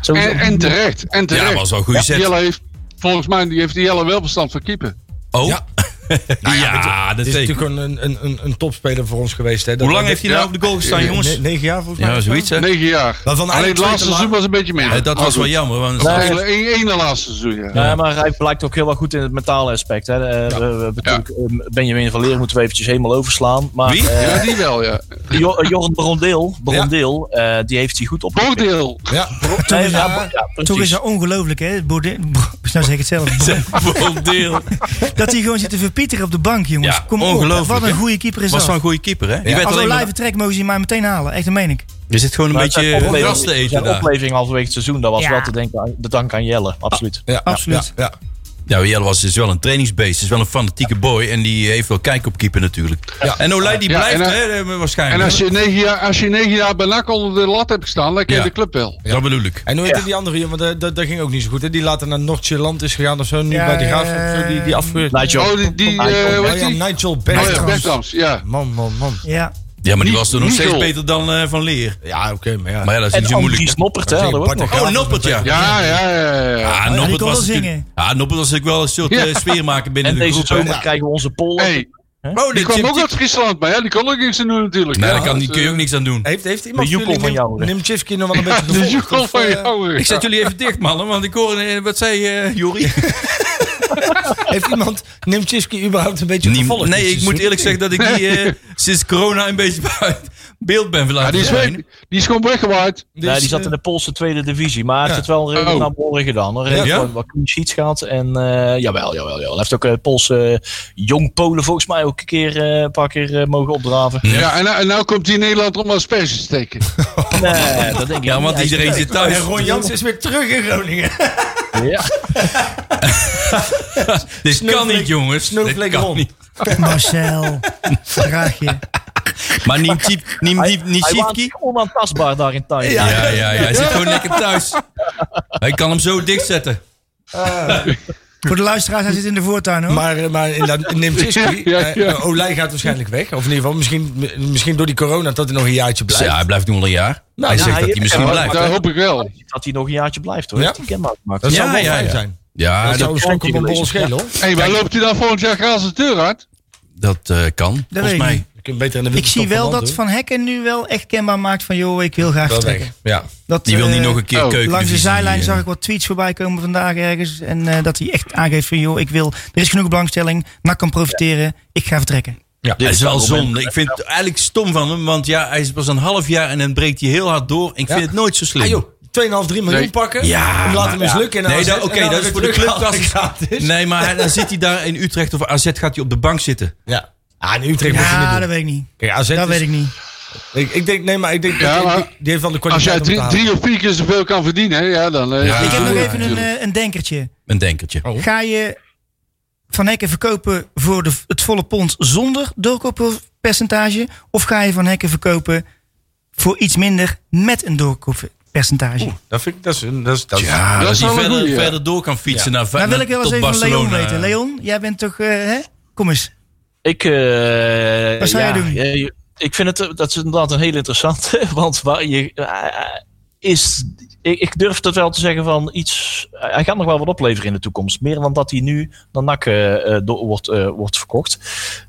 Sowieso. En, en terecht. En Ja, terecht. dat was wel een goede zet. Jelle heeft, volgens mij die heeft die Jelle wel bestand van keeper. Oh? Ja. [laughs] Ja, dat Het is zeker. natuurlijk gewoon een, een, een, een topspeler voor ons geweest. Hè. Dat- Hoe lang dat- heeft hij nou Ja. op de goal gestaan, Ja, jongens? Ne- negen jaar volgens mij. Ja, zoiets, hè? Negen jaar. Waarvan Alleen eigenlijk het twee laatste te laat- seizoen was een beetje minder. Eh, Dat was wel jammer. want- Nee. jammer. Eén één de laatste seizoen, ja. Ja, Eh, maar hij blijkt ook heel wel goed in het mentale aspect. Hè. Eh, we- we- we- Ja. natuurlijk, eh, Benjamin van Leer moeten we eventjes helemaal overslaan. Maar Wie? [laughs] eh, Ja, die wel, ja. Jo- eh, Jorn Brondeel, Brondeel eh, die heeft hij goed op. Voordeel. Ja. Nee, is ja, hij- ja, precies. Toch is dat ongelooflijk, hè? Borde- Bo- [laughs] nou zeg ik het zelf. [laughs] Bo- Brondeel. Dat hij gewoon zit te verpieteren op de bank, jongens. Ja, Kom op. ongelooflijk, Wat hè? een goede keeper is Was dat. wel een goede keeper, hè? Die werd Als alleen we maar- live vertrek mogen ze mij meteen halen. Echt, dat meen ik. Je zit gewoon een Maar zijn beetje opleving- gras te eten zijn daar. opleving halverwege het seizoen, dat was Ja. wel te denken aan, de dank aan Jelle, absoluut. Ah. Ja, Absoluut. Ja, Ja, Nou, Jelle was is wel een trainingsbeest. Is wel een fanatieke boy. En die heeft wel kijk op keeper natuurlijk. Ja. En Olij die Ja, blijft, en, hè, eh, waarschijnlijk. En als je negen jaar, als je negen jaar bij NAC onder de lat hebt gestaan, dan ken je Ja. de club wel. Dat bedoel ik. En hoe heette die andere jongen? Want eh, dat, dat ging ook niet zo goed. Hè? Die later naar Noord-Ierland is gegaan of zo. Nu Ja, bij de eh, graaf. of zo, die, die afgehuurd. Laat je Oh, die, die Ah, eh, joh. hoe Oh heet ja, die? Oh Nigel ja, Bergkamp. Beckhams, ja. Man, man, man. Ja. Ja, maar die Niet- was toen nog niet steeds zo. beter dan eh, Van Leer. Ja, oké, maar ja. Maar ja, dat is En niet zo moeilijk. Andries Noppert, hè, hadden we ook Bart nog. de Oh, Graaf Noppert, ja. Ja, ja, ja, ja. Ja, die Ah, Noppert was kon wel natuurlijk- zingen. Ja, Noppert was natuurlijk wel een soort eh, Ja. sfeermaker binnen En de deze groep. zomer Ja. krijgen we onze poll. Hey, Oh, die dit kwam Jim- ook uit Friesland, maar ja, die kon ook niks aan doen natuurlijk. Nee, ja, eh, daar kan, die kun je ook niks aan doen. Heeft, heeft iemand De joekel jullie van Nim- jou, hè? Nimchivski [laughs] nog wel een beetje De gevolgd? joekel Of, van eh, jou. Ik zet jullie even dicht, mannen, want ik hoor... eh, Wat zei eh Jori? Heeft iemand Nimchivski überhaupt een beetje Niem- gevolgd? nee, dit ik moet seizoen? eerlijk zeggen dat ik die eh, sinds corona een beetje buiten beeld ben Ja, verlaten. die, is zijn. weg, die is gewoon weggewaaid. Dus, die zat eh, in de Poolse tweede divisie, maar hij heeft het wel redelijk Oh. naar behoren gedaan. hoor. Hij Ja? heeft wel wat clean sheets gehad en eh, jawel, jawel, jawel. Hij heeft ook eh, Poolse jong Polen volgens mij ook een keer eh, een paar keer eh, mogen opdraven. Ja. Ja, en, nou- en nou komt hij in Nederland om asperges te steken. Nee, dat denk ik Ja, niet. want Hij is iedereen leuk. zit thuis. En Ron Jans eh, is weer terug in Groningen. Ja. Dit kan Snowflake- niet, jongens. Dit Snowflake kan Ron. niet. Marcel. Draag je. Maar niet Jeep- niet- niet- niet Hij was Schiepke? onaantastbaar daar in Thailand. Ja, ja, ja. Hij zit gewoon lekker thuis. Hij kan hem zo dichtzetten. Voor de luisteraars, hij zit in de voortuin hoor. Maar, eh, maar [laughs] inderdaad, Nimczynski, Ja, ja, ja. eh, eh, Olij gaat waarschijnlijk weg. Of in ieder geval, misschien, m- misschien door die corona dat hij nog een jaartje blijft. Ja, hij blijft nu al een jaar. Nou, hij ja, zegt dat hij- hij misschien ja, blijft. maar- Daar hoop ik wel. Dat hij nog een jaartje blijft hoor. Ja? Heeft hij kenbaar gemaakt. Dat zou Ja, wel ja, fijn ja. zijn. Ja, dat dat, zou een schok op een bol Ja. schelen, hoor. Hé, maar loopt hij dan volgend jaar graag zijn deur uit? dat eh, kan, Dat weet volgens ik mij. niet. Je kunt beter in de ik zie wel dat winterstop Van Hekken nu wel echt kenbaar maakt van... joh, ik wil graag Wel vertrekken. weg. Ja. Dat, Die wil niet eh, nog een keer oh, keuken. eh, Langs de zijlijn zag ik wat tweets voorbij komen vandaag ergens. En eh, dat hij echt aangeeft van... joh, ik wil, er is genoeg belangstelling. NAC kan profiteren. Ik ga vertrekken. Dat is wel Dit is wel zonde. Ik vind het eigenlijk stom van hem. Want ja, hij is pas een half jaar en dan breekt hij heel hard door. Ik vind Ja. het nooit zo Ah, slim. joh, 2,5, 3 miljoen Nee. pakken. Ja, Om laten maar- hem mislukken. en Nee, dan dat- AZ oké, en dan dat is weer voor de terug club, naar dat is- gratis. Nee, maar hij- dan zit hij daar in Utrecht of AZ gaat hij op de bank zitten. Ja. Ah, in Utrecht moet je niet Ja, doen. dat weet ik niet. Kijk, AZ Dat is- weet ik niet. Ik, ik denk, nee, maar ik denk, Ja, dat- maar die, die heeft wel de Als kwaliteit jij om te drie, halen. drie of vier keer zoveel kan verdienen, hè, ja, dan... eh, Ja. Ik heb nog even een, natuurlijk. eh, een denkertje. Een denkertje. Oh. Ga je Van Hekken verkopen voor de, het volle pond zonder doorkooppercentage? Of ga je Van Hekken verkopen voor iets minder met een doorkooppercentage? Dat vind ik, dat is, een- dat is, dat is- Ja, Dat dat is hij wel een verder, goeie, ja. verder door kan fietsen naar Nou wil ik wel eens tot even van Leon Barcelona. weten. Leon, jij bent toch... eh, hè? Kom eens. Ik, eh, Wat zou ja, jij doen? eh, ik vind het eh, dat is inderdaad een heel interessante. [laughs] Want waar je eh, is. Ik, ik durf dat wel te zeggen van iets. eh, Hij gaat nog wel wat opleveren in de toekomst. Meer dan dat hij nu dan NAC eh, eh, door, wordt, eh, wordt verkocht.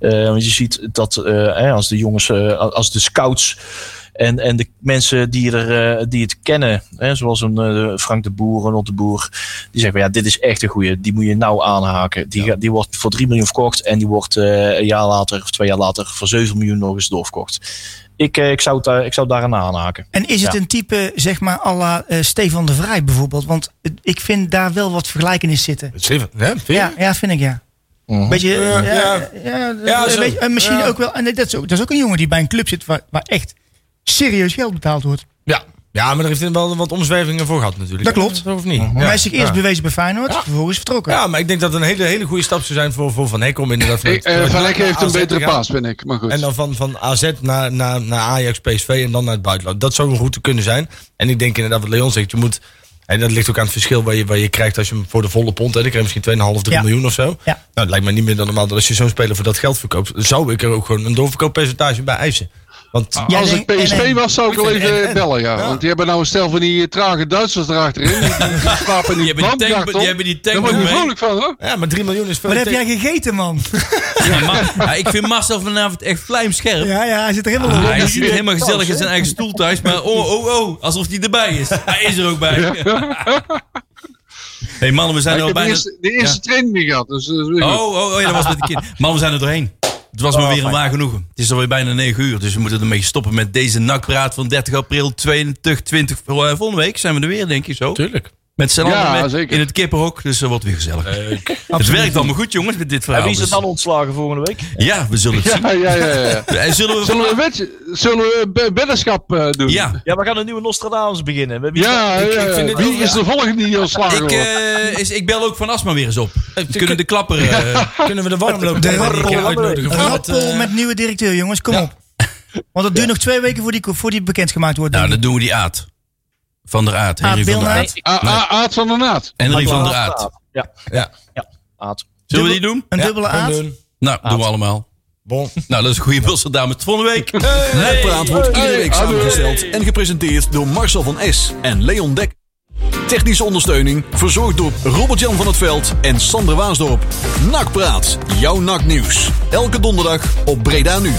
Eh, want je ziet dat eh, hè, als de jongens, eh, als de scouts. En, en de mensen die, er, eh, die het kennen, hè, zoals een eh, Frank de Boer, Ronald de Boer, die zeggen van, ja, dit is echt een goeie. Die moet je nou aanhaken. Die, gaat- die wordt voor 3 miljoen verkocht en die wordt eh, een jaar later of twee jaar later voor 7 miljoen nog eens doorverkocht. Ik, eh, ik, zou, het, daar- ik zou het daaraan aanhaken. En is het Ja. een type, zeg maar, à la eh, Stefan de Vrij bijvoorbeeld? Want eh, ik vind daar wel wat vergelijkenis zitten. Zeven, hè? Vind je? Ja, ja vind ik ja. Mhm. Beetje, Ja, eh, ja, ja. ja, Ja, een zo. beetje- en misschien Ja. ook wel. En dat is ook, dat is ook een jongen die bij een club zit waar, waar echt serieus geld betaald wordt. Ja. ja, maar daar heeft hij wel wat omzwervingen voor gehad natuurlijk. Dat klopt. Of niet? Ja. Maar hij is zich eerst ja. bewezen bij Feyenoord, Ja. vervolgens vertrokken. Ja, maar ik denk dat het een hele, hele goede stap zou zijn voor, voor Van Hek om inderdaad Ik, eh, terug Van naar- Lekker heeft naar een AZ te betere gaan. paas, vind ik. Maar goed. En dan van, van AZ naar, naar, naar Ajax, PSV en dan naar het buitenland. Dat zou een route kunnen zijn. En ik denk inderdaad wat Leon zegt, je moet... En dat ligt ook aan het verschil waar je, waar je krijgt als je hem voor de volle pond... Hè, dan krijg je misschien 2,5, 3 Ja. miljoen of zo. Nou, Ja. het lijkt mij niet meer dan normaal dat als je zo'n speler voor dat geld verkoopt... zou ik er ook gewoon een doorverkooppercentage bij eisen. Want Ja, Als nee, ik PSV en- en- was, zou ik al en- en- even eh, en- bellen, ja. ja. Want die hebben nou een stel van die eh, trage Duitsers erachterin. Die slapen in Die die hebben die brandjacht tank- op. die hebben die tank Daar word je mee. vrolijk van, hoor. ja, maar 3 miljoen is veel. Wat heb tegen- jij gegeten, man? [laughs] Ja, maar- ja, ik vind Marcel vanavond echt vlijmscherp. Ja, ja, hij zit er helemaal op. Hij zit helemaal gezellig in zijn eigen stoel thuis, maar oh, oh, oh, alsof hij erbij is. Hij is er ook bij. hey mannen, we zijn Ik er al heb bijna... de eerste, de eerste training niet gehad. Dus, eh, Oh, oh, oh, ja, dat was met de kind. Mannen, we zijn er doorheen. Het was Oh, me weer een waar genoegen. Het is alweer bijna 9 uur, dus we moeten ermee stoppen met deze nakpraat van 30 april 2020. Eh, Volgende week zijn we er weer, denk ik zo. Tuurlijk. Met z'n Ja, allen met- zeker. in het kippenhok, dus dat wordt weer gezellig. Het werkt allemaal goed, jongens, met dit verhaal. En wie is er dus- dan ontslagen volgende week? Ja, we zullen het zien. [laughs] Ja, ja, ja, ja. En zullen we... Zullen [laughs] we, wed- zullen we be- weddenschap eh, doen? Ja, Ja, we gaan een nieuwe Nostradamus beginnen. Met wie- Ja, Ik- ik ja, ja. vind het Wie wel- is de volgende die ontslagen ik, wordt? eh, is, ik bel ook Van Asma weer eens op. We kunnen de klapper... [laughs] eh, Kunnen we de warmloop De tegen die rappel. keer uitnodigen? voor het, Rappel eh, met nieuwe directeur, jongens, kom Ja. op. Want het duurt nog twee weken voor die, voor die bekendgemaakt wordt. Nou, denk dan ik. doen we die Aad. Van der Aad. Henry van der Bilnaert. Aad. A- A- Aad van der Naad. Henry van der Aad. Ja, Ja. Aad. Zullen we die doen? Een Ja, dubbele gaan aard. doen. Nou, doen we allemaal. Bon. Nou, dat is een goede Bulse dame. Tot volgende week. Nakpraat wordt iedere week samengesteld en gepresenteerd door Marcel van S. en Leon Dek. Technische ondersteuning verzorgd door Robert-Jan van het Veld en Sander Waasdorp. Nakpraat, jouw naknieuws. Elke donderdag op Breda Nu.